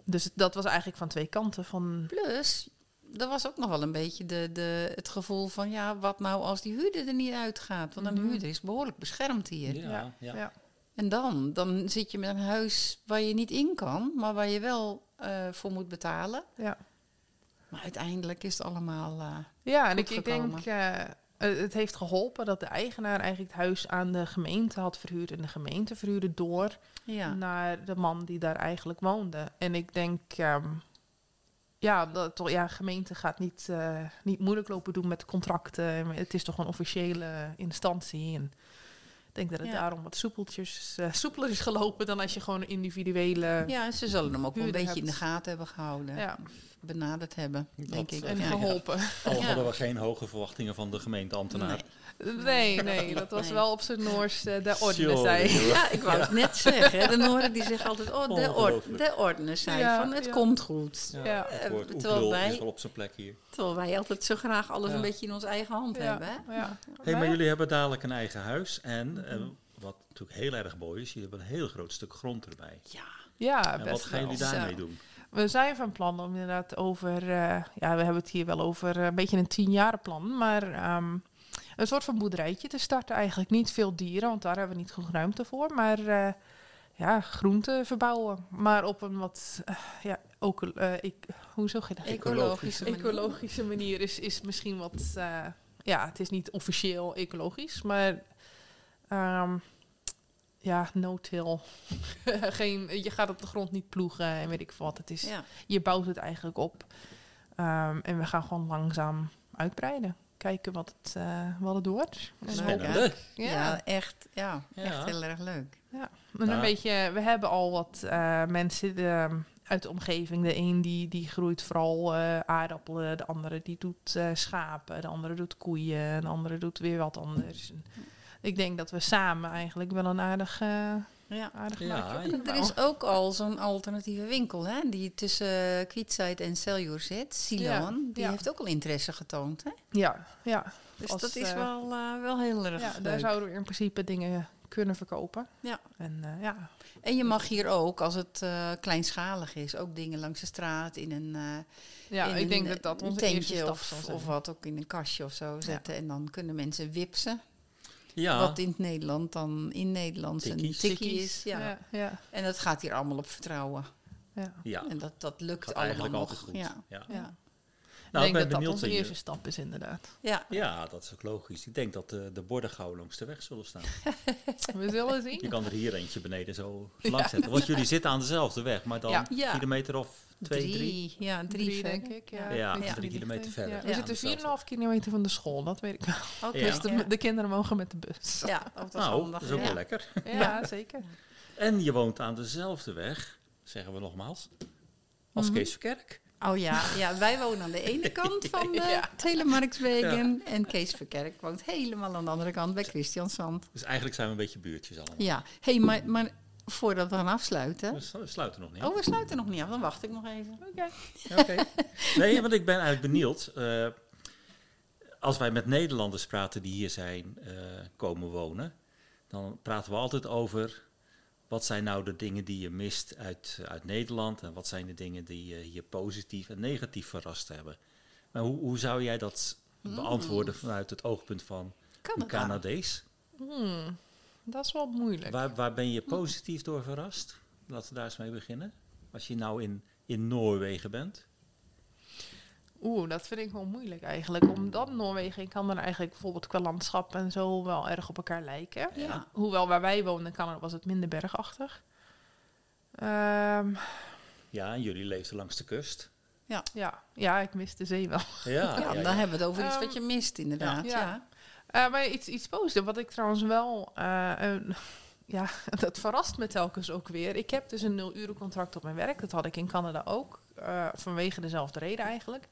[SPEAKER 2] dus dat was eigenlijk van twee kanten. Van,
[SPEAKER 3] Plus, er was ook nog wel een beetje de, de, het gevoel van... ja, wat nou als die huurder er niet uitgaat? Want een
[SPEAKER 2] Mhm.
[SPEAKER 3] huurder is behoorlijk beschermd hier.
[SPEAKER 1] Ja. ja.
[SPEAKER 2] ja.
[SPEAKER 3] En dan? Dan zit je met een huis waar je niet in kan, maar waar je wel eh, voor moet betalen.
[SPEAKER 2] Ja.
[SPEAKER 3] Maar uiteindelijk is het allemaal. eh,
[SPEAKER 2] Ja, en
[SPEAKER 3] goed
[SPEAKER 2] ik, ik
[SPEAKER 3] gekomen.
[SPEAKER 2] denk, eh, eh, het heeft geholpen dat de eigenaar eigenlijk het huis aan de gemeente had verhuurd. En de gemeente verhuurde door
[SPEAKER 3] ja.
[SPEAKER 2] naar de man die daar eigenlijk woonde. En ik denk, ehm, ja, dat, toch, ja, gemeente gaat niet, eh, niet moeilijk lopen doen met contracten. Het is toch een officiële instantie. En denk dat het
[SPEAKER 3] Ja.
[SPEAKER 2] daarom wat soepeltjes, eh, soepeler is gelopen dan als je gewoon een individuele...
[SPEAKER 3] Ja, ze zullen hem ook wel een
[SPEAKER 2] Huurder
[SPEAKER 3] beetje in de
[SPEAKER 2] hebt.
[SPEAKER 3] gaten hebben gehouden.
[SPEAKER 2] Ja.
[SPEAKER 3] Of benaderd hebben,
[SPEAKER 1] Dat,
[SPEAKER 3] denk ik.
[SPEAKER 1] eh,
[SPEAKER 2] En
[SPEAKER 3] Ja.
[SPEAKER 2] geholpen.
[SPEAKER 1] Al
[SPEAKER 3] Ja.
[SPEAKER 1] hadden we geen hoge verwachtingen van de gemeenteambtenaar.
[SPEAKER 2] Nee, nee, dat was
[SPEAKER 3] Nee.
[SPEAKER 2] wel op zijn Noors eh, de orde,
[SPEAKER 1] Tjonge,
[SPEAKER 2] zei.
[SPEAKER 1] jongen.
[SPEAKER 3] Ja, ik wou het net zeggen. Dan horen die zich altijd, oh, de, or
[SPEAKER 1] Ongelooflijk.
[SPEAKER 3] de ordenen zijn
[SPEAKER 2] Ja,
[SPEAKER 3] van, het
[SPEAKER 2] ja.
[SPEAKER 3] komt goed.
[SPEAKER 1] Ja,
[SPEAKER 2] Ja.
[SPEAKER 1] het woord
[SPEAKER 3] Eh, terwijl
[SPEAKER 1] oekrol
[SPEAKER 3] wij-
[SPEAKER 1] is wel op zijn plek hier.
[SPEAKER 3] Terwijl wij altijd zo graag alles
[SPEAKER 1] Ja.
[SPEAKER 3] een beetje in onze eigen hand hebben. Hè?
[SPEAKER 2] ja.
[SPEAKER 1] Hey, maar jullie hebben dadelijk een eigen huis.
[SPEAKER 3] Mhm.
[SPEAKER 1] En eh, wat natuurlijk heel erg mooi is, jullie hebben een heel groot stuk grond erbij.
[SPEAKER 3] Ja,
[SPEAKER 2] Ja,
[SPEAKER 1] en
[SPEAKER 2] best
[SPEAKER 1] wat gaan
[SPEAKER 2] wel.
[SPEAKER 1] jullie
[SPEAKER 3] wel.
[SPEAKER 1] daarmee
[SPEAKER 3] Zo.
[SPEAKER 1] doen?
[SPEAKER 2] We zijn van plan om inderdaad over, eh, ja, we hebben het hier wel over eh, een beetje een tienjarenplan, maar ehm, een soort van boerderijtje te starten. Eigenlijk niet veel dieren, want daar hebben we niet genoeg ruimte voor, maar eh, ja, groenten verbouwen. Maar op een wat, eh, ja, ook, eh ik, hoezo geen
[SPEAKER 3] ecologische manier.
[SPEAKER 2] ecologische manier is, is misschien wat, eh, ja, het is niet officieel ecologisch, maar ehm, ja, no-till. Geen, je gaat op de grond niet ploegen en weet ik veel wat het is
[SPEAKER 3] Ja.
[SPEAKER 2] je bouwt het eigenlijk op. Ehm, en we gaan gewoon langzaam uitbreiden. Kijken wat het, eh, wat het wordt. En
[SPEAKER 3] Leuk,
[SPEAKER 2] hopen-
[SPEAKER 3] hè?
[SPEAKER 1] Spannende.
[SPEAKER 2] Ja.
[SPEAKER 3] Ja. echt, ja,
[SPEAKER 1] Ja.
[SPEAKER 3] echt heel erg leuk.
[SPEAKER 2] En
[SPEAKER 1] Ja.
[SPEAKER 2] een beetje, we hebben al wat eh, mensen ehm, uit de omgeving. De een die, die groeit vooral eh, aardappelen. De andere die doet eh, schapen. De andere doet koeien. De andere doet weer wat anders. En ik denk dat we samen eigenlijk wel een aardig, eh
[SPEAKER 3] Ja.
[SPEAKER 2] aardig
[SPEAKER 1] Ja, ja.
[SPEAKER 2] marktje kunnen
[SPEAKER 3] Er is ook al zo'n alternatieve winkel hè, die tussen uh, en Celjoer zit, Silon.
[SPEAKER 2] Ja,
[SPEAKER 3] Die
[SPEAKER 2] ja.
[SPEAKER 3] heeft ook al interesse getoond. Hè?
[SPEAKER 2] bouwen. Ja, ja.
[SPEAKER 3] Dus
[SPEAKER 2] Als,
[SPEAKER 3] dat is
[SPEAKER 2] eh,
[SPEAKER 3] wel, eh, wel heel erg
[SPEAKER 2] ja, daar
[SPEAKER 3] leuk.
[SPEAKER 2] zouden we in principe dingen kunnen verkopen.
[SPEAKER 3] Ja.
[SPEAKER 2] En eh, ja,
[SPEAKER 3] En je mag hier ook, als het eh, kleinschalig is, ook dingen langs de straat in een, eh,
[SPEAKER 2] Ja,
[SPEAKER 3] in
[SPEAKER 2] ik
[SPEAKER 3] een,
[SPEAKER 2] denk
[SPEAKER 3] eh,
[SPEAKER 2] dat dat onze
[SPEAKER 3] tentje
[SPEAKER 2] eerste stap zal
[SPEAKER 3] of,
[SPEAKER 2] zijn.
[SPEAKER 3] of wat ook in een kastje of zo zetten. En dan kunnen mensen wipsen.
[SPEAKER 1] Ja,
[SPEAKER 3] Wat in het Nederland dan in Nederlands
[SPEAKER 1] Tikkies.
[SPEAKER 3] een tikkie
[SPEAKER 1] Tikkies.
[SPEAKER 3] is. Ja.
[SPEAKER 2] ja. Ja, ja,
[SPEAKER 3] En dat gaat hier allemaal op vertrouwen.
[SPEAKER 2] ja.
[SPEAKER 1] ja.
[SPEAKER 3] En dat, dat lukt
[SPEAKER 1] gaat
[SPEAKER 3] allemaal
[SPEAKER 1] eigenlijk
[SPEAKER 3] nog.
[SPEAKER 1] altijd goed.
[SPEAKER 3] Ja.
[SPEAKER 1] Ja.
[SPEAKER 3] Ja.
[SPEAKER 1] Nou,
[SPEAKER 2] ik
[SPEAKER 1] ik ben
[SPEAKER 2] denk dat dat
[SPEAKER 1] benieuwd
[SPEAKER 2] onze
[SPEAKER 1] wie-
[SPEAKER 2] eerste stap is, inderdaad.
[SPEAKER 3] Ja.
[SPEAKER 1] ja, dat is ook logisch. Ik denk dat eh, de borden gauw langs de weg zullen staan.
[SPEAKER 2] We zullen
[SPEAKER 1] Je
[SPEAKER 2] zien.
[SPEAKER 1] kan er hier eentje beneden zo langs zetten. Want jullie zitten aan dezelfde weg, maar dan
[SPEAKER 2] Ja.
[SPEAKER 3] Ja.
[SPEAKER 1] kilometer of twee, drie.
[SPEAKER 3] Ja, drie,
[SPEAKER 2] Drie, denk
[SPEAKER 3] verder.
[SPEAKER 2] ik. Ja,
[SPEAKER 1] Ja,
[SPEAKER 2] Iets
[SPEAKER 1] drie
[SPEAKER 2] in die
[SPEAKER 1] kilometer
[SPEAKER 2] richting.
[SPEAKER 1] verder.
[SPEAKER 2] Ja,
[SPEAKER 1] Ja,
[SPEAKER 2] We
[SPEAKER 1] aan de
[SPEAKER 2] zitten 4,5 kilometer van de school, dat weet ik wel.
[SPEAKER 3] Oké.
[SPEAKER 1] Ja.
[SPEAKER 2] Dus de, de kinderen mogen met de bus.
[SPEAKER 3] Ja, of dat is
[SPEAKER 1] Nou,
[SPEAKER 3] handig.
[SPEAKER 1] dat is ook
[SPEAKER 3] ja.
[SPEAKER 1] wel lekker.
[SPEAKER 2] Ja, zeker.
[SPEAKER 1] En je woont aan dezelfde weg, zeggen we nogmaals, als
[SPEAKER 2] Mhm.
[SPEAKER 1] Kees Verkerk.
[SPEAKER 3] Oh ja, ja, wij wonen aan de ene kant van de
[SPEAKER 2] Ja.
[SPEAKER 3] Telemarkswegen. En Kees Verkerk woont helemaal aan de andere kant bij Christiansand.
[SPEAKER 1] Dus eigenlijk zijn we een beetje buurtjes allemaal.
[SPEAKER 3] Ja, hey, maar, maar voordat we gaan afsluiten...
[SPEAKER 1] We s- we sluiten nog niet.
[SPEAKER 3] Oh, we sluiten nog niet af, dan wacht ik nog even.
[SPEAKER 2] Oké.
[SPEAKER 1] Oké. Nee, want ik ben eigenlijk benieuwd. eh, als wij met Nederlanders praten die hier zijn eh, komen wonen, dan praten we altijd over wat zijn nou de dingen die je mist uit, uit Nederland en wat zijn de dingen die je hier positief en negatief verrast hebben. Maar hoe, hoe zou jij dat beantwoorden vanuit het oogpunt van
[SPEAKER 3] Kan
[SPEAKER 1] een
[SPEAKER 3] het aan?
[SPEAKER 1] Canadees?
[SPEAKER 2] Hmm, dat is wel moeilijk.
[SPEAKER 1] Waar, waar ben je positief door verrast? Laten we daar eens mee beginnen. Als je nou in, in Noorwegen bent.
[SPEAKER 2] Oeh, dat vind ik wel moeilijk eigenlijk. Omdat Noorwegen en Canada eigenlijk bijvoorbeeld qua landschap en zo wel erg op elkaar lijken.
[SPEAKER 3] Ja.
[SPEAKER 2] Hoewel waar wij woonden in Canada was het minder bergachtig. Ehm,
[SPEAKER 1] Ja, en jullie leefden langs de kust.
[SPEAKER 2] ja. ja, ik mis de zee wel.
[SPEAKER 1] Ja,
[SPEAKER 3] Ja,
[SPEAKER 1] Ah, ja,
[SPEAKER 3] dan
[SPEAKER 1] ja.
[SPEAKER 3] hebben we het over iets
[SPEAKER 2] Ehm,
[SPEAKER 3] wat je mist, inderdaad.
[SPEAKER 2] ja.
[SPEAKER 3] Ja.
[SPEAKER 2] Eh, maar iets, iets positiefs, wat ik trouwens wel... eh, een- ja, dat verrast me telkens ook weer. Ik heb dus een nul-urencontract op mijn werk. Dat had ik in Canada ook, eh, vanwege dezelfde reden eigenlijk.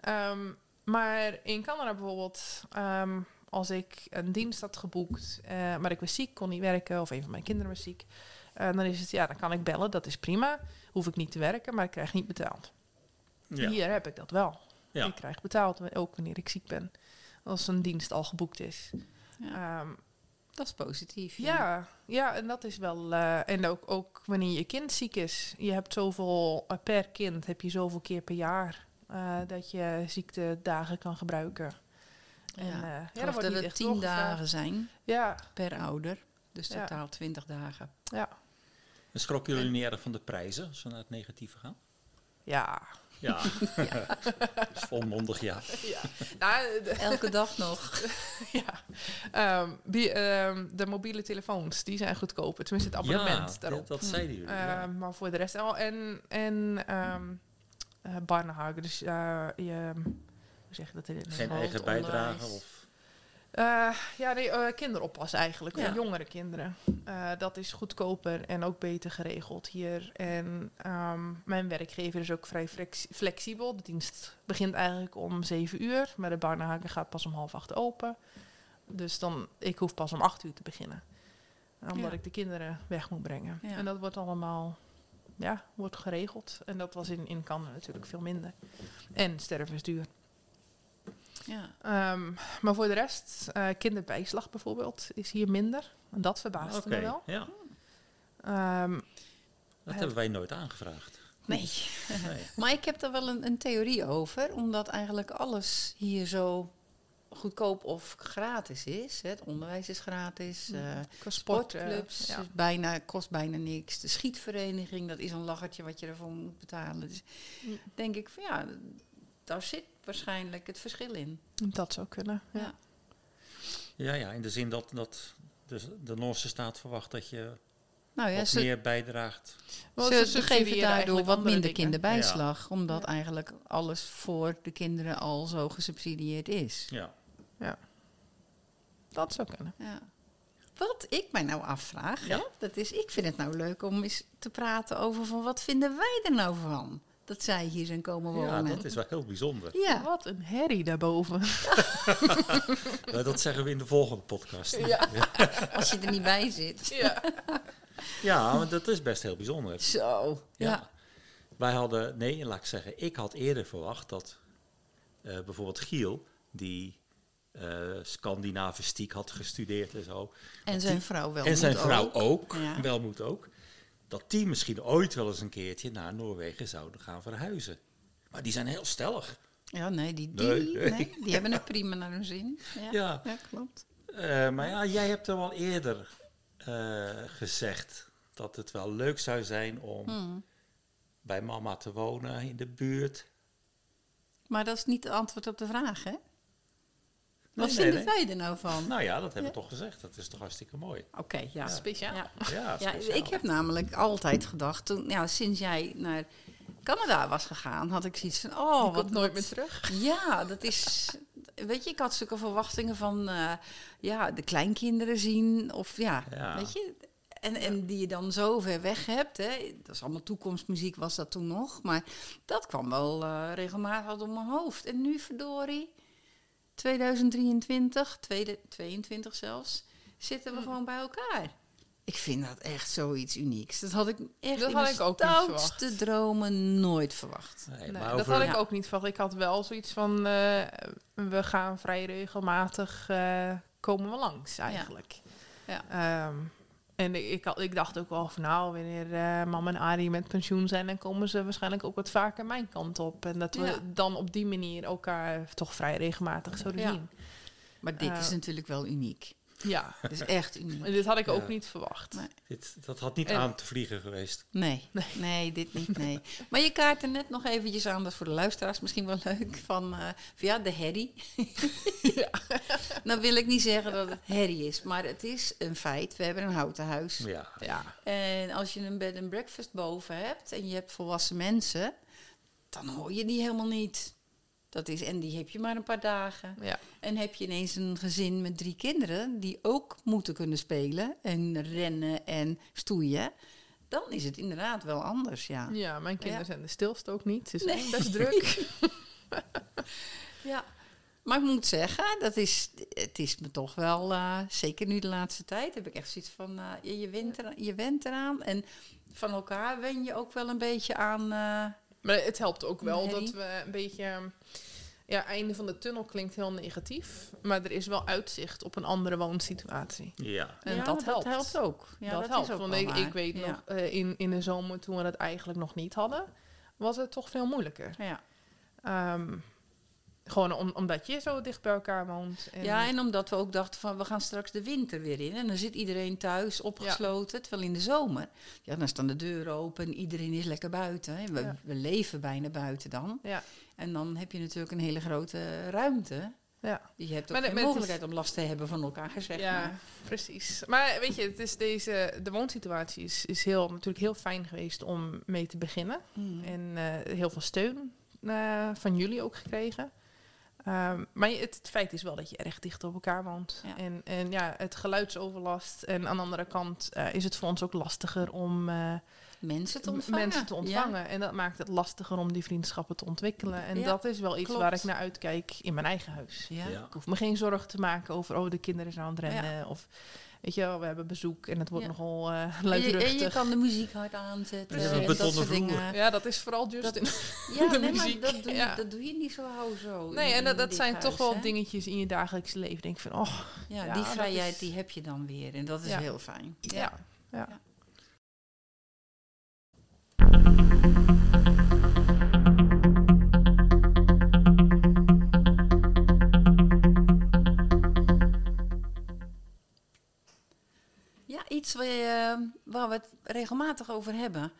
[SPEAKER 2] Ehm, maar in Canada bijvoorbeeld, ehm, als ik een dienst had geboekt... eh, maar ik was ziek, kon niet werken, of een van mijn kinderen was ziek... eh, dan is het, ja, dan kan ik bellen, dat is prima. Hoef ik niet te werken, maar ik krijg niet betaald.
[SPEAKER 1] Ja.
[SPEAKER 2] Hier heb ik dat wel.
[SPEAKER 1] Ja.
[SPEAKER 2] Ik krijg betaald, ook wanneer ik ziek ben. Als een dienst al geboekt is.
[SPEAKER 3] Ja.
[SPEAKER 2] Ehm,
[SPEAKER 3] Dat is positief.
[SPEAKER 2] ja, ja, en dat is wel... eh, en ook, ook wanneer je kind ziek is. Je hebt zoveel... eh, per kind heb je zoveel keer per jaar... eh, dat je ziektedagen kan gebruiken.
[SPEAKER 3] Ja.
[SPEAKER 2] En, eh,
[SPEAKER 3] Ik
[SPEAKER 2] ja, wordt
[SPEAKER 3] geloof dat
[SPEAKER 2] niet
[SPEAKER 3] het
[SPEAKER 2] echt
[SPEAKER 3] tien
[SPEAKER 2] doorgevraagd.
[SPEAKER 3] dagen zijn
[SPEAKER 2] Ja,
[SPEAKER 3] per ouder. Dus
[SPEAKER 2] Ja.
[SPEAKER 3] totaal twintig dagen.
[SPEAKER 1] En schrokken jullie niet erg van de prijzen als we naar het negatieve gaan?
[SPEAKER 2] ja.
[SPEAKER 1] Ja, dat is volmondig ja.
[SPEAKER 2] ja. Nou, de-
[SPEAKER 3] Elke dag nog.
[SPEAKER 2] Ja. Ehm, die, ehm, de mobiele telefoons, die zijn goedkoper. Tenminste, het abonnement
[SPEAKER 1] ja,
[SPEAKER 2] daarop.
[SPEAKER 1] Dat, dat zeiden jullie.
[SPEAKER 2] Eh,
[SPEAKER 1] ja.
[SPEAKER 2] maar voor de rest al. En, en ehm eh, Barnehagen, dus eh, je, hoe zeg je dat in het
[SPEAKER 1] Geen
[SPEAKER 2] Nederlands?
[SPEAKER 1] eigen bijdrage
[SPEAKER 3] onderwijs.
[SPEAKER 1] of...
[SPEAKER 2] Eh, ja, nee, eh, kinderoppas eigenlijk,
[SPEAKER 3] Ja.
[SPEAKER 2] voor jongere kinderen. Eh, dat is goedkoper en ook beter geregeld hier. En ehm, mijn werkgever is ook vrij flex- flexibel. De dienst begint eigenlijk om 7 uur, maar de Barnehaken gaat pas om half acht open. Dus dan, ik hoef pas om 8 uur te beginnen. Omdat
[SPEAKER 3] Ja.
[SPEAKER 2] ik de kinderen weg moet brengen.
[SPEAKER 3] Ja.
[SPEAKER 2] En dat wordt allemaal ja, wordt geregeld. En dat was in, in Canada natuurlijk veel minder. En sterven is duur.
[SPEAKER 3] Ja.
[SPEAKER 2] Ehm, maar voor de rest, eh, kinderbijslag bijvoorbeeld, is hier minder. En dat verbaast me wel.
[SPEAKER 1] ja.
[SPEAKER 2] Ehm,
[SPEAKER 1] Dat hebben wij nooit aangevraagd.
[SPEAKER 3] Nee.
[SPEAKER 1] Nee.
[SPEAKER 3] Maar ik heb er wel een, een theorie over, omdat eigenlijk alles hier zo goedkoop of gratis is. hè. Het onderwijs is gratis, eh,
[SPEAKER 2] qua sport, eh,
[SPEAKER 3] sportclubs
[SPEAKER 2] ja.
[SPEAKER 3] is bijna, kost bijna niks. De schietvereniging, dat is een lachertje wat je ervoor moet betalen. Dus
[SPEAKER 2] Mm.
[SPEAKER 3] denk ik van ja, daar zit waarschijnlijk het verschil in.
[SPEAKER 2] Dat zou kunnen. Ja.
[SPEAKER 3] Ja.
[SPEAKER 1] Ja, ja, in de zin dat, dat de, de Noorse staat verwacht dat je
[SPEAKER 3] Nou ja,
[SPEAKER 1] wat
[SPEAKER 3] ze,
[SPEAKER 1] meer bijdraagt.
[SPEAKER 2] Want
[SPEAKER 3] ze
[SPEAKER 2] subsidiëren
[SPEAKER 3] geven daardoor
[SPEAKER 2] eigenlijk
[SPEAKER 3] wat
[SPEAKER 2] andere
[SPEAKER 3] minder
[SPEAKER 2] dingen.
[SPEAKER 3] kinderbijslag, omdat
[SPEAKER 2] Ja.
[SPEAKER 3] eigenlijk alles voor de kinderen al zo gesubsidieerd is.
[SPEAKER 1] Ja.
[SPEAKER 2] Dat zou kunnen.
[SPEAKER 3] Ja. Wat ik mij nou afvraag,
[SPEAKER 1] Ja.
[SPEAKER 3] hè, dat is, ik vind het nou leuk om eens te praten over van wat vinden wij er nou van dat zij hier zijn komen wonen.
[SPEAKER 1] ja, dat is wel heel bijzonder.
[SPEAKER 3] Ja.
[SPEAKER 2] Wat een herrie daarboven.
[SPEAKER 1] Ja, Eh, dat zeggen we in de volgende podcast.
[SPEAKER 2] Ja.
[SPEAKER 3] als je er niet bij zit.
[SPEAKER 2] ja.
[SPEAKER 1] Ja, want dat is best heel bijzonder.
[SPEAKER 3] Zo.
[SPEAKER 1] Ja.
[SPEAKER 3] Ja.
[SPEAKER 1] Wij hadden, nee, laat ik zeggen, ik had eerder verwacht dat eh, bijvoorbeeld Giel, die eh Scandinavistiek had gestudeerd en zo,
[SPEAKER 3] En zijn vrouw wel.
[SPEAKER 1] en zijn
[SPEAKER 3] moet
[SPEAKER 1] vrouw
[SPEAKER 3] ook.
[SPEAKER 1] ook,
[SPEAKER 3] Ja.
[SPEAKER 1] wel moet ook, dat die misschien ooit wel eens een keertje naar Noorwegen zouden gaan verhuizen. Maar die zijn heel stellig.
[SPEAKER 3] Ja, nee, die, die,
[SPEAKER 1] Nee,
[SPEAKER 3] nee,
[SPEAKER 1] nee.
[SPEAKER 3] die hebben het prima naar hun zin. Ja,
[SPEAKER 1] Ja.
[SPEAKER 3] ja. klopt.
[SPEAKER 1] Eh, maar ja, jij hebt er al eerder eh, gezegd dat het wel leuk zou zijn om
[SPEAKER 3] Hmm.
[SPEAKER 1] bij mama te wonen in de buurt.
[SPEAKER 3] Maar dat is niet het antwoord op de vraag, hè?
[SPEAKER 1] nee,
[SPEAKER 3] Wat vinden
[SPEAKER 1] nee.
[SPEAKER 3] wij er nou van?
[SPEAKER 1] Nou ja, dat hebben we toch gezegd. Dat is toch hartstikke mooi.
[SPEAKER 3] Oké, ja.
[SPEAKER 2] Speciaal.
[SPEAKER 3] ja.
[SPEAKER 1] Ja,
[SPEAKER 3] Ja,
[SPEAKER 1] speciaal.
[SPEAKER 3] ik heb namelijk altijd gedacht, toen, ja, sinds jij naar Canada was gegaan, had ik zoiets van, oh,
[SPEAKER 2] Oh,
[SPEAKER 3] wat
[SPEAKER 2] komt nooit meer terug.
[SPEAKER 3] Ja, dat is. Weet je, ik had zulke verwachtingen van eh, ja, de kleinkinderen zien. Of ja,
[SPEAKER 1] Ja.
[SPEAKER 3] weet je. En, en die je dan zo ver weg hebt. Hè. Dat is allemaal toekomstmuziek, was dat toen nog. Maar dat kwam wel eh, regelmatig al door mijn hoofd. En nu, verdorie, 2023, 2022 zelfs, zitten we
[SPEAKER 2] Hm.
[SPEAKER 3] gewoon bij elkaar. Ik vind dat echt zoiets unieks. Dat had ik echt
[SPEAKER 2] Dat
[SPEAKER 3] in
[SPEAKER 2] had
[SPEAKER 3] mijn
[SPEAKER 2] ik ook niet verwacht.
[SPEAKER 3] stoutste dromen nooit verwacht.
[SPEAKER 1] Nee,
[SPEAKER 2] Nee,
[SPEAKER 1] maar
[SPEAKER 2] dat
[SPEAKER 1] over-
[SPEAKER 2] had ik
[SPEAKER 3] Ja.
[SPEAKER 2] ook niet verwacht. Ik had wel zoiets van, eh, we gaan vrij regelmatig, eh, komen we langs eigenlijk.
[SPEAKER 3] Ja.
[SPEAKER 2] Ehm, en ik, ik, had- ik dacht ook wel van, nou, wanneer eh, mam en Arie met pensioen zijn, dan komen ze waarschijnlijk ook wat vaker mijn kant op. En dat we
[SPEAKER 3] Ja.
[SPEAKER 2] dan op die manier elkaar toch vrij regelmatig zouden
[SPEAKER 3] Ja.
[SPEAKER 2] zien.
[SPEAKER 3] Maar dit
[SPEAKER 2] Eh.
[SPEAKER 3] is natuurlijk wel uniek.
[SPEAKER 2] Ja,
[SPEAKER 3] Dit is echt uniek.
[SPEAKER 2] en dit had ik
[SPEAKER 1] Ja.
[SPEAKER 2] ook niet verwacht.
[SPEAKER 3] Nee.
[SPEAKER 1] dit, dat had niet
[SPEAKER 3] Eh.
[SPEAKER 2] En-
[SPEAKER 1] aan te vliegen geweest.
[SPEAKER 3] Nee, nee, dit niet, nee. Maar je kaart er net nog eventjes aan, dat is voor de luisteraars misschien wel leuk, van, eh, van ja, de herrie. nou wil ik niet zeggen dat het herrie is, maar het is een feit. We hebben een houten huis.
[SPEAKER 1] Ja.
[SPEAKER 2] Ja,
[SPEAKER 3] En als je een bed and breakfast boven hebt en je hebt volwassen mensen, dan hoor je die helemaal niet. Dat is, en die heb je maar een paar dagen.
[SPEAKER 2] ja.
[SPEAKER 3] En heb je ineens een gezin met drie kinderen die ook moeten kunnen spelen en rennen en stoeien, dan is het inderdaad wel anders, ja.
[SPEAKER 2] ja mijn kinderen
[SPEAKER 3] Ja.
[SPEAKER 2] zijn de stilste ook niet. Ze zijn
[SPEAKER 3] Nee.
[SPEAKER 2] best druk.
[SPEAKER 3] ja. Maar ik moet zeggen, dat is, het is me toch wel, eh, zeker nu de laatste tijd, heb ik echt zoiets van, eh, je, je, wint eraan, je went eraan. En van elkaar wen je ook wel een beetje aan, eh,
[SPEAKER 2] Maar het helpt ook wel
[SPEAKER 3] Nee.
[SPEAKER 2] dat we een beetje... Ja, einde van de tunnel klinkt heel negatief. Maar er is wel uitzicht op een andere woonsituatie.
[SPEAKER 1] Ja.
[SPEAKER 2] En
[SPEAKER 3] ja,
[SPEAKER 2] dat helpt.
[SPEAKER 3] ook. Ja,
[SPEAKER 2] dat,
[SPEAKER 3] is
[SPEAKER 2] helpt.
[SPEAKER 3] ook
[SPEAKER 2] want
[SPEAKER 3] wel
[SPEAKER 2] ik,
[SPEAKER 3] waar.
[SPEAKER 2] ik weet
[SPEAKER 3] Ja.
[SPEAKER 2] nog, eh, in, in de zomer toen we dat eigenlijk nog niet hadden, was het toch veel moeilijker.
[SPEAKER 3] Ja.
[SPEAKER 2] Ehm, gewoon om- omdat je zo dicht bij elkaar woont. En eh,
[SPEAKER 3] Ja, en omdat we ook dachten van we gaan straks de winter weer in. En dan zit iedereen thuis opgesloten. Terwijl in de zomer, ja, dan staan de deuren open en iedereen is lekker buiten. hè. We,
[SPEAKER 2] Ja.
[SPEAKER 3] we leven bijna buiten dan.
[SPEAKER 2] Ja.
[SPEAKER 3] En dan heb je natuurlijk een hele grote ruimte.
[SPEAKER 2] Ja.
[SPEAKER 3] Je hebt ook
[SPEAKER 2] Maar de-
[SPEAKER 3] geen
[SPEAKER 2] maar het
[SPEAKER 3] mogelijkheid om last te hebben van elkaar, zeg
[SPEAKER 2] ja,
[SPEAKER 3] maar.
[SPEAKER 2] precies. Maar weet je, het is deze, de woonsituatie is, is heel, natuurlijk heel fijn geweest om mee te beginnen.
[SPEAKER 3] Mm.
[SPEAKER 2] En eh, heel veel steun eh, van jullie ook gekregen. Ehm, Ehm, maar je- het, het feit is wel dat je erg dicht op elkaar woont.
[SPEAKER 3] Ja.
[SPEAKER 2] En, en ja, het geluidsoverlast. En aan de andere kant eh, is het voor ons ook lastiger om eh,
[SPEAKER 3] Mensen te ontvangen.
[SPEAKER 2] mensen te
[SPEAKER 3] Ja.
[SPEAKER 2] ontvangen. En dat maakt het lastiger om die vriendschappen te ontwikkelen. En
[SPEAKER 3] Ja,
[SPEAKER 2] dat is wel iets
[SPEAKER 3] klopt.
[SPEAKER 2] waar ik naar uitkijk in mijn eigen huis.
[SPEAKER 3] Ja.
[SPEAKER 1] Ja.
[SPEAKER 2] Ik hoef me geen zorgen te maken over, oh, de kinderen zijn aan het rennen. Of, weet je wel, we hebben bezoek en het wordt
[SPEAKER 3] Ja.
[SPEAKER 2] nogal eh
[SPEAKER 3] En, je, en je
[SPEAKER 2] luidruchtig.
[SPEAKER 3] kan de muziek hard aanzetten.
[SPEAKER 2] Ja, een
[SPEAKER 3] en dat
[SPEAKER 1] betonnen
[SPEAKER 3] soort
[SPEAKER 1] vloer.
[SPEAKER 3] dingen.
[SPEAKER 2] Ja, dat is vooral Justin.
[SPEAKER 3] Ja,
[SPEAKER 2] de
[SPEAKER 3] nee,
[SPEAKER 2] muziek,
[SPEAKER 3] maar dat doe, je-
[SPEAKER 2] ja.
[SPEAKER 3] dat doe je niet zo hou zo.
[SPEAKER 2] Nee,
[SPEAKER 3] in-
[SPEAKER 2] en dat,
[SPEAKER 3] in
[SPEAKER 2] dat
[SPEAKER 3] dit
[SPEAKER 2] zijn
[SPEAKER 3] huis,
[SPEAKER 2] toch wel
[SPEAKER 3] hè.
[SPEAKER 2] dingetjes in je dagelijks leven. Denk ik van, oh,
[SPEAKER 3] Ja,
[SPEAKER 2] Ja,
[SPEAKER 3] die
[SPEAKER 2] dat
[SPEAKER 3] vrijheid
[SPEAKER 2] is-
[SPEAKER 3] die heb je dan weer. En dat is
[SPEAKER 2] Ja.
[SPEAKER 3] heel fijn.
[SPEAKER 2] ja. ja.
[SPEAKER 3] Ja, iets waar, je, eh, waar we het regelmatig over hebben.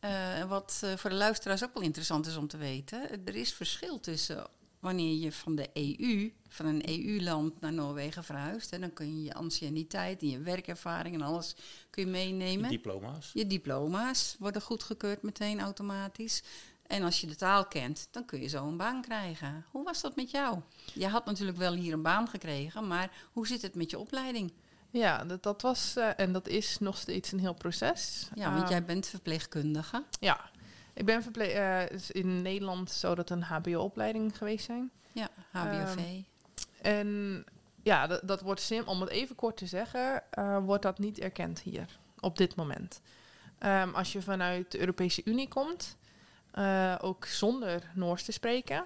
[SPEAKER 3] eh, en wat eh, voor de luisteraars ook wel interessant is om te weten. Er is verschil tussen wanneer je van de EU, van een EU-land naar Noorwegen verhuist. En dan kun je je anciëniteit en je werkervaring en alles kun je meenemen.
[SPEAKER 1] Diploma's.
[SPEAKER 3] Je diploma's worden goedgekeurd meteen automatisch. En als je de taal kent, dan kun je zo een baan krijgen. Hoe was dat met jou? Je had natuurlijk wel hier een baan gekregen, maar hoe zit het met je opleiding?
[SPEAKER 2] Ja, dat, dat was eh, en dat is nog steeds een heel proces.
[SPEAKER 3] Ja, want
[SPEAKER 2] Ehm,
[SPEAKER 3] jij bent verpleegkundige.
[SPEAKER 2] Ja, ik ben verple- eh, is in Nederland zou dat een HBO-opleiding geweest zijn.
[SPEAKER 3] Ja, HBOV.
[SPEAKER 2] En ja, dat, dat wordt sim, om het even kort te zeggen, eh, wordt dat niet erkend hier op dit moment. Ehm, als je vanuit de Europese Unie komt, eh, ook zonder Noors te spreken,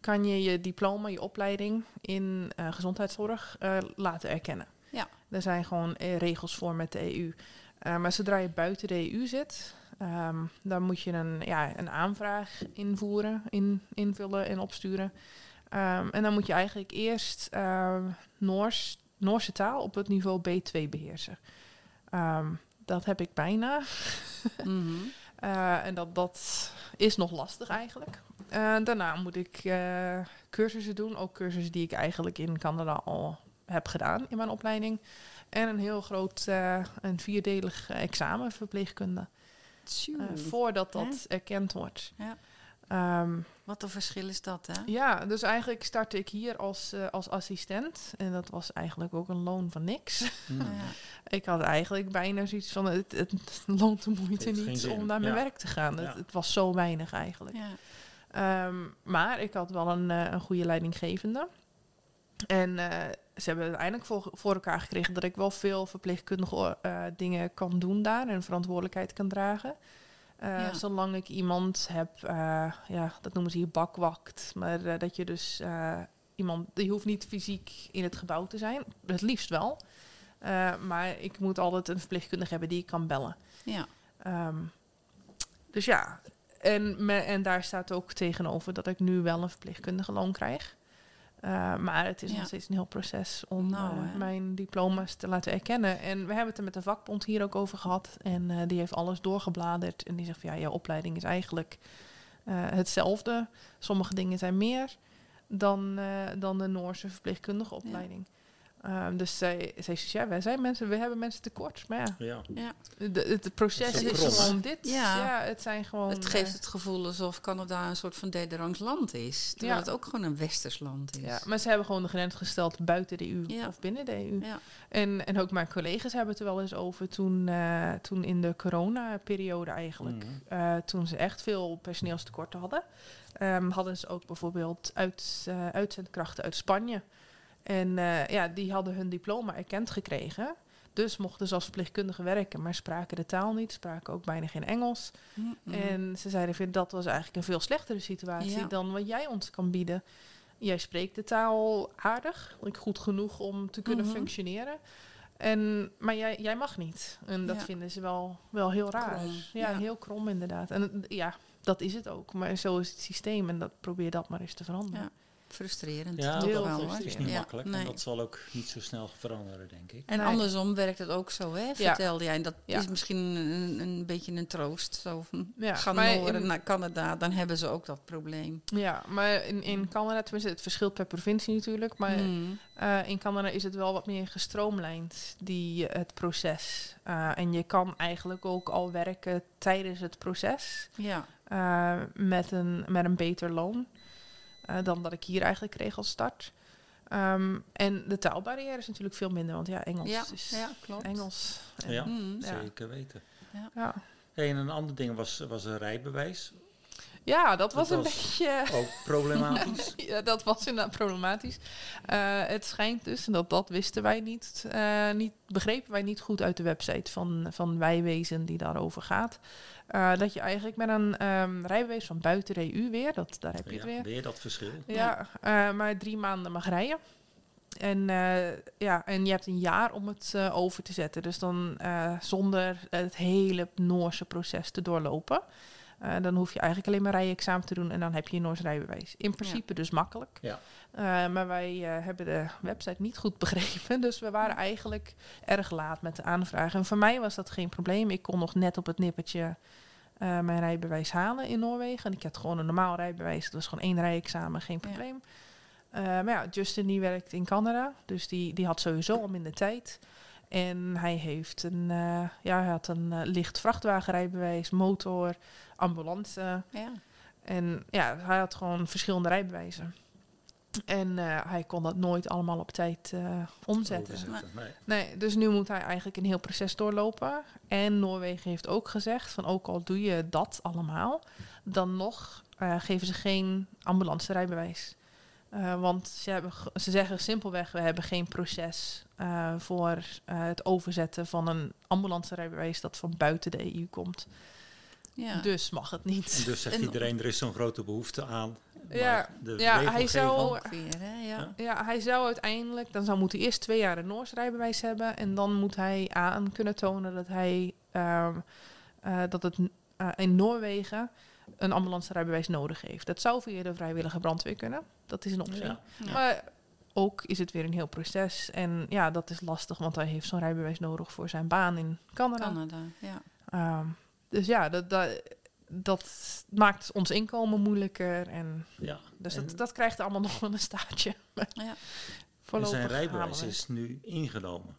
[SPEAKER 2] kan je je diploma, je opleiding in eh, gezondheidszorg eh, laten erkennen.
[SPEAKER 3] Ja.
[SPEAKER 2] Daar zijn gewoon eh, regels voor met de EU. Eh, maar zodra je buiten de EU zit, ehm, dan moet je een, ja, een aanvraag invoeren, in, invullen en opsturen. Ehm, en dan moet je eigenlijk eerst ehm, Noors, Noorse taal op het niveau B2 beheersen. Ehm, dat heb ik bijna. ehm,
[SPEAKER 3] Mhm.
[SPEAKER 2] Eh, en dat, dat is nog lastig eigenlijk. Eh, daarna moet ik eh, cursussen doen, ook cursussen die ik eigenlijk in Canada al heb gedaan in mijn opleiding. En een heel groot, eh, een vierdelig eh, examen verpleegkunde. eh,
[SPEAKER 3] Tjoe,
[SPEAKER 2] voordat dat erkend wordt.
[SPEAKER 3] Hmm. Ja.
[SPEAKER 2] Ehm,
[SPEAKER 3] Wat een verschil is dat, hè?
[SPEAKER 2] ja, dus eigenlijk startte ik hier als, eh, als assistent. En dat was eigenlijk ook een loon van niks.
[SPEAKER 1] Hmm.
[SPEAKER 3] Ja.
[SPEAKER 2] ik had eigenlijk bijna zoiets van, het, het loont de moeite
[SPEAKER 1] Heeft geen
[SPEAKER 2] niet
[SPEAKER 1] zin.
[SPEAKER 2] om naar mijn
[SPEAKER 1] Ja.
[SPEAKER 2] werk te gaan. Het,
[SPEAKER 1] Ja.
[SPEAKER 2] het was zo weinig eigenlijk.
[SPEAKER 3] Ja.
[SPEAKER 2] Ehm, maar ik had wel een, eh, een goede leidinggevende. En eh, ze hebben uiteindelijk voor, voor elkaar gekregen dat ik wel veel verpleegkundige eh, dingen kan doen daar en verantwoordelijkheid kan dragen. Eh,
[SPEAKER 3] Ja.
[SPEAKER 2] Zolang ik iemand heb, eh, ja, dat noemen ze hier bakwakt. Maar eh, dat je dus eh, iemand, die hoeft niet fysiek in het gebouw te zijn, het liefst wel. Eh, maar ik moet altijd een verpleegkundige hebben die ik kan bellen.
[SPEAKER 3] ja.
[SPEAKER 2] Ehm, dus ja, en, me, en daar staat ook tegenover dat ik nu wel een verpleegkundige loon krijg. Eh, maar het is
[SPEAKER 3] Ja.
[SPEAKER 2] nog steeds een heel proces om
[SPEAKER 3] Nou,
[SPEAKER 2] eh,
[SPEAKER 3] hè.
[SPEAKER 2] mijn diploma's te laten erkennen. En we hebben het er met de vakbond hier ook over gehad. En eh, die heeft alles doorgebladerd. En die zegt van ja, jouw opleiding is eigenlijk eh, hetzelfde. Sommige dingen zijn meer dan, eh, dan de Noorse verpleegkundige opleiding. Ehm, dus zij, zij zegt, ja, wij zijn mensen, we hebben mensen tekort. Maar ja,
[SPEAKER 1] Ja.
[SPEAKER 2] de- het proces
[SPEAKER 1] Het
[SPEAKER 2] is,
[SPEAKER 1] is krom, hè?
[SPEAKER 2] gewoon dit. Ja.
[SPEAKER 3] Ja.
[SPEAKER 2] het zijn gewoon.
[SPEAKER 3] Het geeft het gevoel alsof Canada een soort van derde rangs land is. Terwijl
[SPEAKER 2] Ja.
[SPEAKER 3] het ook gewoon een westers land is.
[SPEAKER 2] eh, ja, maar ze hebben gewoon de grens gesteld buiten de EU
[SPEAKER 3] Ja.
[SPEAKER 2] of binnen de EU.
[SPEAKER 3] Ja.
[SPEAKER 2] En, en ook mijn collega's hebben het er wel eens over toen, eh, toen in de coronaperiode eigenlijk.
[SPEAKER 1] Mhm.
[SPEAKER 2] eh, toen ze echt veel personeelstekorten hadden, ehm, hadden ze ook bijvoorbeeld uit, eh, uitzendkrachten uit Spanje. En eh, ja, die hadden hun diploma erkend gekregen. Dus mochten ze als verpleegkundige werken, maar spraken de taal niet, spraken ook bijna geen Engels.
[SPEAKER 3] Mhm.
[SPEAKER 2] En ze zeiden, "Vind, dat was eigenlijk een veel slechtere situatie
[SPEAKER 3] Ja.
[SPEAKER 2] dan wat jij ons kan bieden. Jij spreekt de taal aardig, like, goed genoeg om te kunnen
[SPEAKER 3] Mhm.
[SPEAKER 2] functioneren. En, maar jij, jij mag niet. En dat
[SPEAKER 3] Ja.
[SPEAKER 2] vinden ze wel, wel heel raar.
[SPEAKER 3] Krom,
[SPEAKER 2] Ja,
[SPEAKER 3] ja.
[SPEAKER 2] heel krom inderdaad. En eh, ja, dat is het ook. Maar zo is het systeem en dat probeer dat maar eens te veranderen.
[SPEAKER 3] Ja. Frustrerend.
[SPEAKER 1] Ja,
[SPEAKER 3] toch
[SPEAKER 2] heel
[SPEAKER 3] wel,
[SPEAKER 1] dat
[SPEAKER 3] hoor.
[SPEAKER 1] is- is niet
[SPEAKER 3] Ja,
[SPEAKER 1] makkelijk.
[SPEAKER 3] nee.
[SPEAKER 1] En dat zal ook niet zo snel veranderen, denk ik.
[SPEAKER 3] En
[SPEAKER 2] Nee.
[SPEAKER 3] andersom werkt het ook zo, hè? Vertelde jij. En dat
[SPEAKER 2] Ja.
[SPEAKER 3] is misschien een, een beetje een troost. Zo van,
[SPEAKER 2] Ja,
[SPEAKER 3] gaan
[SPEAKER 2] maar in-
[SPEAKER 3] Nooren naar Canada, dan hebben ze ook dat probleem.
[SPEAKER 2] Ja, maar in, in Canada, tenminste, het verschilt per provincie natuurlijk. Maar
[SPEAKER 3] Mm.
[SPEAKER 2] Eh, in Canada is het wel wat meer gestroomlijnd, die, eh, het proces. Eh, en je kan eigenlijk ook al werken tijdens het proces
[SPEAKER 3] Ja,
[SPEAKER 2] eh, met, een, met een beter loon. Eh, eh, dan dat ik hier eigenlijk kreeg als start. Ehm, en de taalbarrière is natuurlijk veel minder, want ja, Engels
[SPEAKER 3] Ja,
[SPEAKER 2] is
[SPEAKER 3] ja, klopt.
[SPEAKER 2] Engels. En-
[SPEAKER 1] Ja.
[SPEAKER 3] Mm.
[SPEAKER 2] Ja.
[SPEAKER 1] Zeker weten.
[SPEAKER 2] Ja.
[SPEAKER 1] Hey, en een ander ding was, was een rijbewijs.
[SPEAKER 2] ja, dat was een
[SPEAKER 1] was-
[SPEAKER 2] beetje...
[SPEAKER 1] Ook problematisch.
[SPEAKER 2] Ja, dat was inderdaad problematisch. Eh, het schijnt dus, en dat, dat wisten wij niet, eh, niet, begrepen wij niet goed uit de website van, van Wijwezen die daarover gaat. eh, dat je eigenlijk met een ehm, rijbewijs van buiten de EU weer, dat, daar heb je het
[SPEAKER 1] Ja,
[SPEAKER 2] weer,
[SPEAKER 1] weer dat verschil.
[SPEAKER 2] ja, eh, maar drie maanden mag rijden. En, eh, ja, en je hebt een jaar om het eh, over te zetten. Dus dan eh, zonder het hele Noorse proces te doorlopen. Eh, dan hoef je eigenlijk alleen maar rijexamen te doen en dan heb je je Noors rijbewijs. In principe dus makkelijk.
[SPEAKER 1] Ja.
[SPEAKER 2] Eh, maar wij eh, hebben de website niet goed begrepen. Dus we waren eigenlijk erg laat met de aanvraag. En voor mij was dat geen probleem. Ik kon nog net op het nippertje eh, mijn rijbewijs halen in Noorwegen. En ik had gewoon een normaal rijbewijs. Dat was gewoon één rijexamen, geen
[SPEAKER 3] Ja.
[SPEAKER 2] probleem. Eh, maar ja, Justin die werkt in Canada. Dus die, die had sowieso al minder tijd. En hij heeft een, eh, ja, hij had een eh, licht vrachtwagenrijbewijs, motor, ambulance.
[SPEAKER 3] Ja.
[SPEAKER 2] En ja, hij had gewoon verschillende rijbewijzen. En eh, hij kon dat nooit allemaal op tijd eh, omzetten.
[SPEAKER 1] Overzetten. Nee.
[SPEAKER 2] Nee, dus nu moet hij eigenlijk een heel proces doorlopen. En Noorwegen heeft ook gezegd van ook al doe je dat allemaal, dan nog eh, geven ze geen ambulance rijbewijs. Eh, want ze, hebben, ge- ze zeggen simpelweg, we hebben geen proces eh, voor eh, het overzetten van een ambulance rijbewijs dat van buiten de EU komt.
[SPEAKER 3] Ja.
[SPEAKER 2] Dus mag het
[SPEAKER 1] En
[SPEAKER 2] niet.
[SPEAKER 1] dus zegt
[SPEAKER 3] En-
[SPEAKER 1] iedereen, er is zo'n grote behoefte aan. Maar
[SPEAKER 2] Ja,
[SPEAKER 1] de
[SPEAKER 2] ja, hij
[SPEAKER 1] regelgeving-
[SPEAKER 2] zou-
[SPEAKER 3] Ook weer, hè? Ja.
[SPEAKER 2] Ja, hij zou uiteindelijk, dan zou moeten eerst twee jaar een Noors rijbewijs hebben. En dan moet hij aan kunnen tonen dat hij ehm, eh, dat het eh, in Noorwegen een ambulance rijbewijs nodig heeft. Dat zou via de vrijwillige brandweer kunnen. Dat is een optie.
[SPEAKER 1] Ja.
[SPEAKER 3] Ja.
[SPEAKER 2] Maar ook is het weer een heel proces. En ja, dat is lastig, want hij heeft zo'n rijbewijs nodig voor zijn baan in Canada.
[SPEAKER 3] Canada, ja.
[SPEAKER 2] Ehm, dus ja, dat, dat, dat maakt ons inkomen moeilijker. En
[SPEAKER 1] Ja.
[SPEAKER 2] dus
[SPEAKER 1] En-
[SPEAKER 2] dat, dat krijgt allemaal nog wel een staartje.
[SPEAKER 3] Ja.
[SPEAKER 1] en
[SPEAKER 2] Voorlopig
[SPEAKER 1] zijn
[SPEAKER 2] halen
[SPEAKER 1] rijbewijs
[SPEAKER 2] we het.
[SPEAKER 1] is nu ingenomen.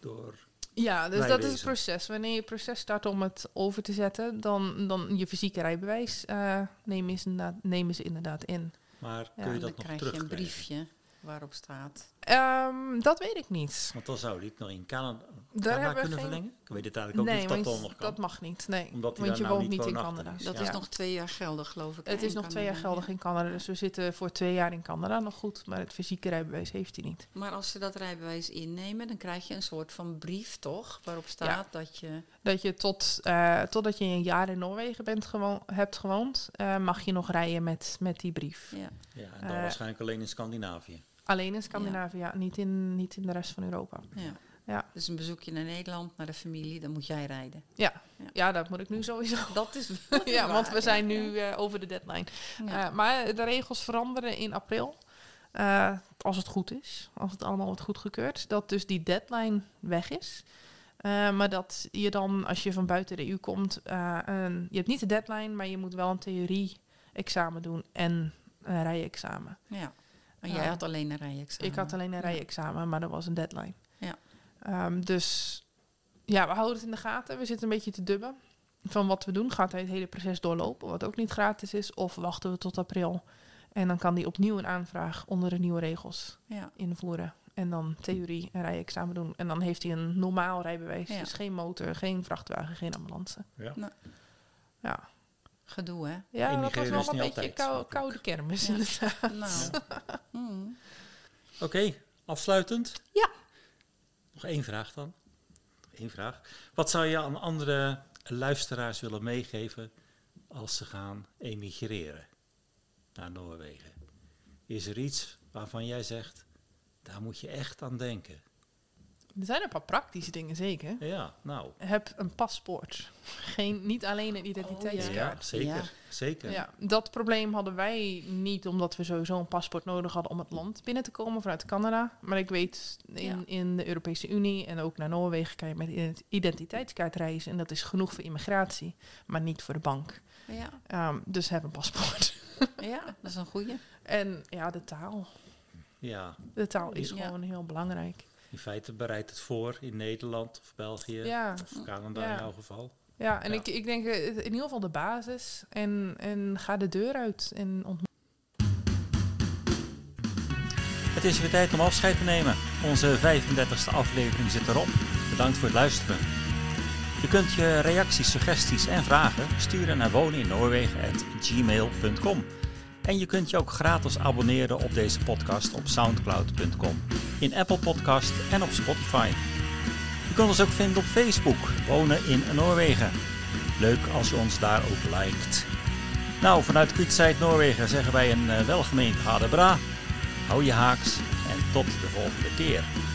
[SPEAKER 1] Door,
[SPEAKER 2] Ja, dus dat is het
[SPEAKER 1] rijwezen.
[SPEAKER 2] proces. Wanneer je proces start om het over te zetten, dan, dan je fysieke rijbewijs eh, nemen, ze inderdaad, nemen ze inderdaad in.
[SPEAKER 1] maar
[SPEAKER 2] Ja,
[SPEAKER 1] kun je
[SPEAKER 3] En dan
[SPEAKER 1] dat nog
[SPEAKER 3] krijg je een
[SPEAKER 1] terugkrijgen?
[SPEAKER 3] briefje waarop staat.
[SPEAKER 2] Ehm, dat weet ik niet.
[SPEAKER 1] Want dan zou die het nog in Canada,
[SPEAKER 2] Daar
[SPEAKER 1] Canada
[SPEAKER 2] hebben we
[SPEAKER 1] kunnen
[SPEAKER 2] geen-
[SPEAKER 1] verlengen. Ik weet het eigenlijk ook niet of
[SPEAKER 2] want
[SPEAKER 1] dat dan nog kan.
[SPEAKER 2] dat mag niet. Nee,
[SPEAKER 1] Omdat hij
[SPEAKER 2] want je
[SPEAKER 1] daar nou
[SPEAKER 2] woont
[SPEAKER 1] niet
[SPEAKER 2] niet in
[SPEAKER 1] woonachtig
[SPEAKER 2] Canada.
[SPEAKER 1] is.
[SPEAKER 3] Dat
[SPEAKER 1] Ja.
[SPEAKER 3] is nog twee jaar geldig, geloof ik. hè,
[SPEAKER 2] Het is
[SPEAKER 3] in
[SPEAKER 2] nog twee jaar
[SPEAKER 3] Canada,
[SPEAKER 2] geldig
[SPEAKER 3] ja.
[SPEAKER 2] in Canada, dus we zitten voor twee jaar in Canada nog goed. Maar het fysieke rijbewijs heeft hij niet.
[SPEAKER 3] Maar als ze dat rijbewijs innemen, dan krijg je een soort van brief, toch? Waarop staat dat je...
[SPEAKER 2] Dat je tot, eh, totdat je een jaar in Noorwegen bent gewo- hebt gewoond, eh, mag je nog rijden met, met die brief.
[SPEAKER 3] Ja.
[SPEAKER 1] Ja, en dan
[SPEAKER 2] Eh,
[SPEAKER 1] waarschijnlijk alleen in Scandinavië.
[SPEAKER 2] Alleen in Scandinavië, niet, in, niet in de rest van Europa.
[SPEAKER 3] Ja.
[SPEAKER 2] Ja.
[SPEAKER 3] Dus een bezoekje naar Nederland, naar de familie, dan moet jij rijden.
[SPEAKER 2] Ja.
[SPEAKER 3] Ja.
[SPEAKER 2] ja, dat moet ik nu sowieso
[SPEAKER 3] Dat is
[SPEAKER 2] Oh. Ja, want we
[SPEAKER 3] waar,
[SPEAKER 2] zijn
[SPEAKER 3] ja,
[SPEAKER 2] nu
[SPEAKER 3] ja.
[SPEAKER 2] eh, over de deadline.
[SPEAKER 3] Ja.
[SPEAKER 2] Eh, maar de regels veranderen in april. Eh, als het goed is, als het allemaal wordt goedgekeurd. Dat dus die deadline weg is. Eh, maar dat je dan, als je van buiten de EU komt, eh, een- je hebt niet de deadline, maar je moet wel een theorie-examen doen en een rijexamen.
[SPEAKER 3] ja. En jij
[SPEAKER 2] Ja.
[SPEAKER 3] had alleen een rijexamen.
[SPEAKER 2] eh, Ik had alleen een rijexamen, maar dat was een deadline.
[SPEAKER 3] Ja.
[SPEAKER 2] Ehm, dus ja, we houden het in de gaten. We zitten een beetje te dubben van wat we doen. Gaat hij het hele proces doorlopen, wat ook niet gratis is? Of wachten we tot april en dan kan hij opnieuw een aanvraag onder de nieuwe regels
[SPEAKER 3] Ja.
[SPEAKER 2] invoeren. En dan theorie en rijexamen doen. En dan heeft hij een normaal rijbewijs.
[SPEAKER 3] Ja.
[SPEAKER 2] Dus geen motor, geen vrachtwagen, geen ambulance.
[SPEAKER 1] Ja.
[SPEAKER 3] Nou.
[SPEAKER 2] Ja,
[SPEAKER 3] Gedoe, hè?
[SPEAKER 2] ja
[SPEAKER 1] In
[SPEAKER 2] dat was
[SPEAKER 1] Nigeria
[SPEAKER 2] wel
[SPEAKER 1] is
[SPEAKER 2] een
[SPEAKER 1] niet
[SPEAKER 2] beetje
[SPEAKER 1] altijd
[SPEAKER 2] kou-
[SPEAKER 1] makkelijk.
[SPEAKER 2] koude kermis
[SPEAKER 3] Ja.
[SPEAKER 2] inderdaad.
[SPEAKER 3] nou. Mm.
[SPEAKER 1] Oké, afsluitend.
[SPEAKER 3] Ja.
[SPEAKER 1] Nog één vraag dan. Eén vraag. Wat zou je aan andere luisteraars willen meegeven als ze gaan emigreren naar Noorwegen? Is er iets waarvan jij zegt, daar moet je echt aan denken?
[SPEAKER 2] Er zijn een paar praktische dingen zeker.
[SPEAKER 1] Ja, nou.
[SPEAKER 2] heb een paspoort. Geen, niet alleen een identiteitskaart.
[SPEAKER 1] Ja, zeker.
[SPEAKER 3] Ja.
[SPEAKER 1] zeker.
[SPEAKER 2] Oh, ja. dat probleem hadden wij niet, omdat we sowieso een paspoort nodig hadden om het land binnen te komen vanuit Canada. Maar ik weet, in,
[SPEAKER 3] Ja.
[SPEAKER 2] in de Europese Unie en ook naar Noorwegen kan je met ident- identiteitskaart reizen. En dat is genoeg voor immigratie, maar niet voor de bank.
[SPEAKER 3] Ja.
[SPEAKER 2] Ehm, dus heb een paspoort.
[SPEAKER 3] ja, dat is een goeie.
[SPEAKER 2] En ja, de taal.
[SPEAKER 1] Ja,
[SPEAKER 2] De taal is
[SPEAKER 3] Ja.
[SPEAKER 2] gewoon heel belangrijk.
[SPEAKER 1] in feite bereidt het voor in Nederland of België
[SPEAKER 2] Ja.
[SPEAKER 1] of Canada
[SPEAKER 2] Ja.
[SPEAKER 1] in jouw geval.
[SPEAKER 2] Ja, en
[SPEAKER 1] Ja.
[SPEAKER 2] Ik, ik denk eh, in ieder geval de basis. En, en ga de deur uit en ontmoet.
[SPEAKER 1] is weer tijd om afscheid te nemen. Onze 35e aflevering zit erop. Bedankt voor het luisteren. Je kunt je reacties, suggesties en vragen sturen naar woneninnoorwegen.gmail.com. En je kunt je ook gratis abonneren op deze podcast op soundcloud.com, in Apple Podcast en op Spotify. Je kunt ons ook vinden op Facebook, Wonen in Noorwegen. Leuk als je ons daar ook liked. Nou, vanuit Kutzijd Noorwegen zeggen wij een eh, welgemeend hadebra. Hou je haaks en tot de volgende keer.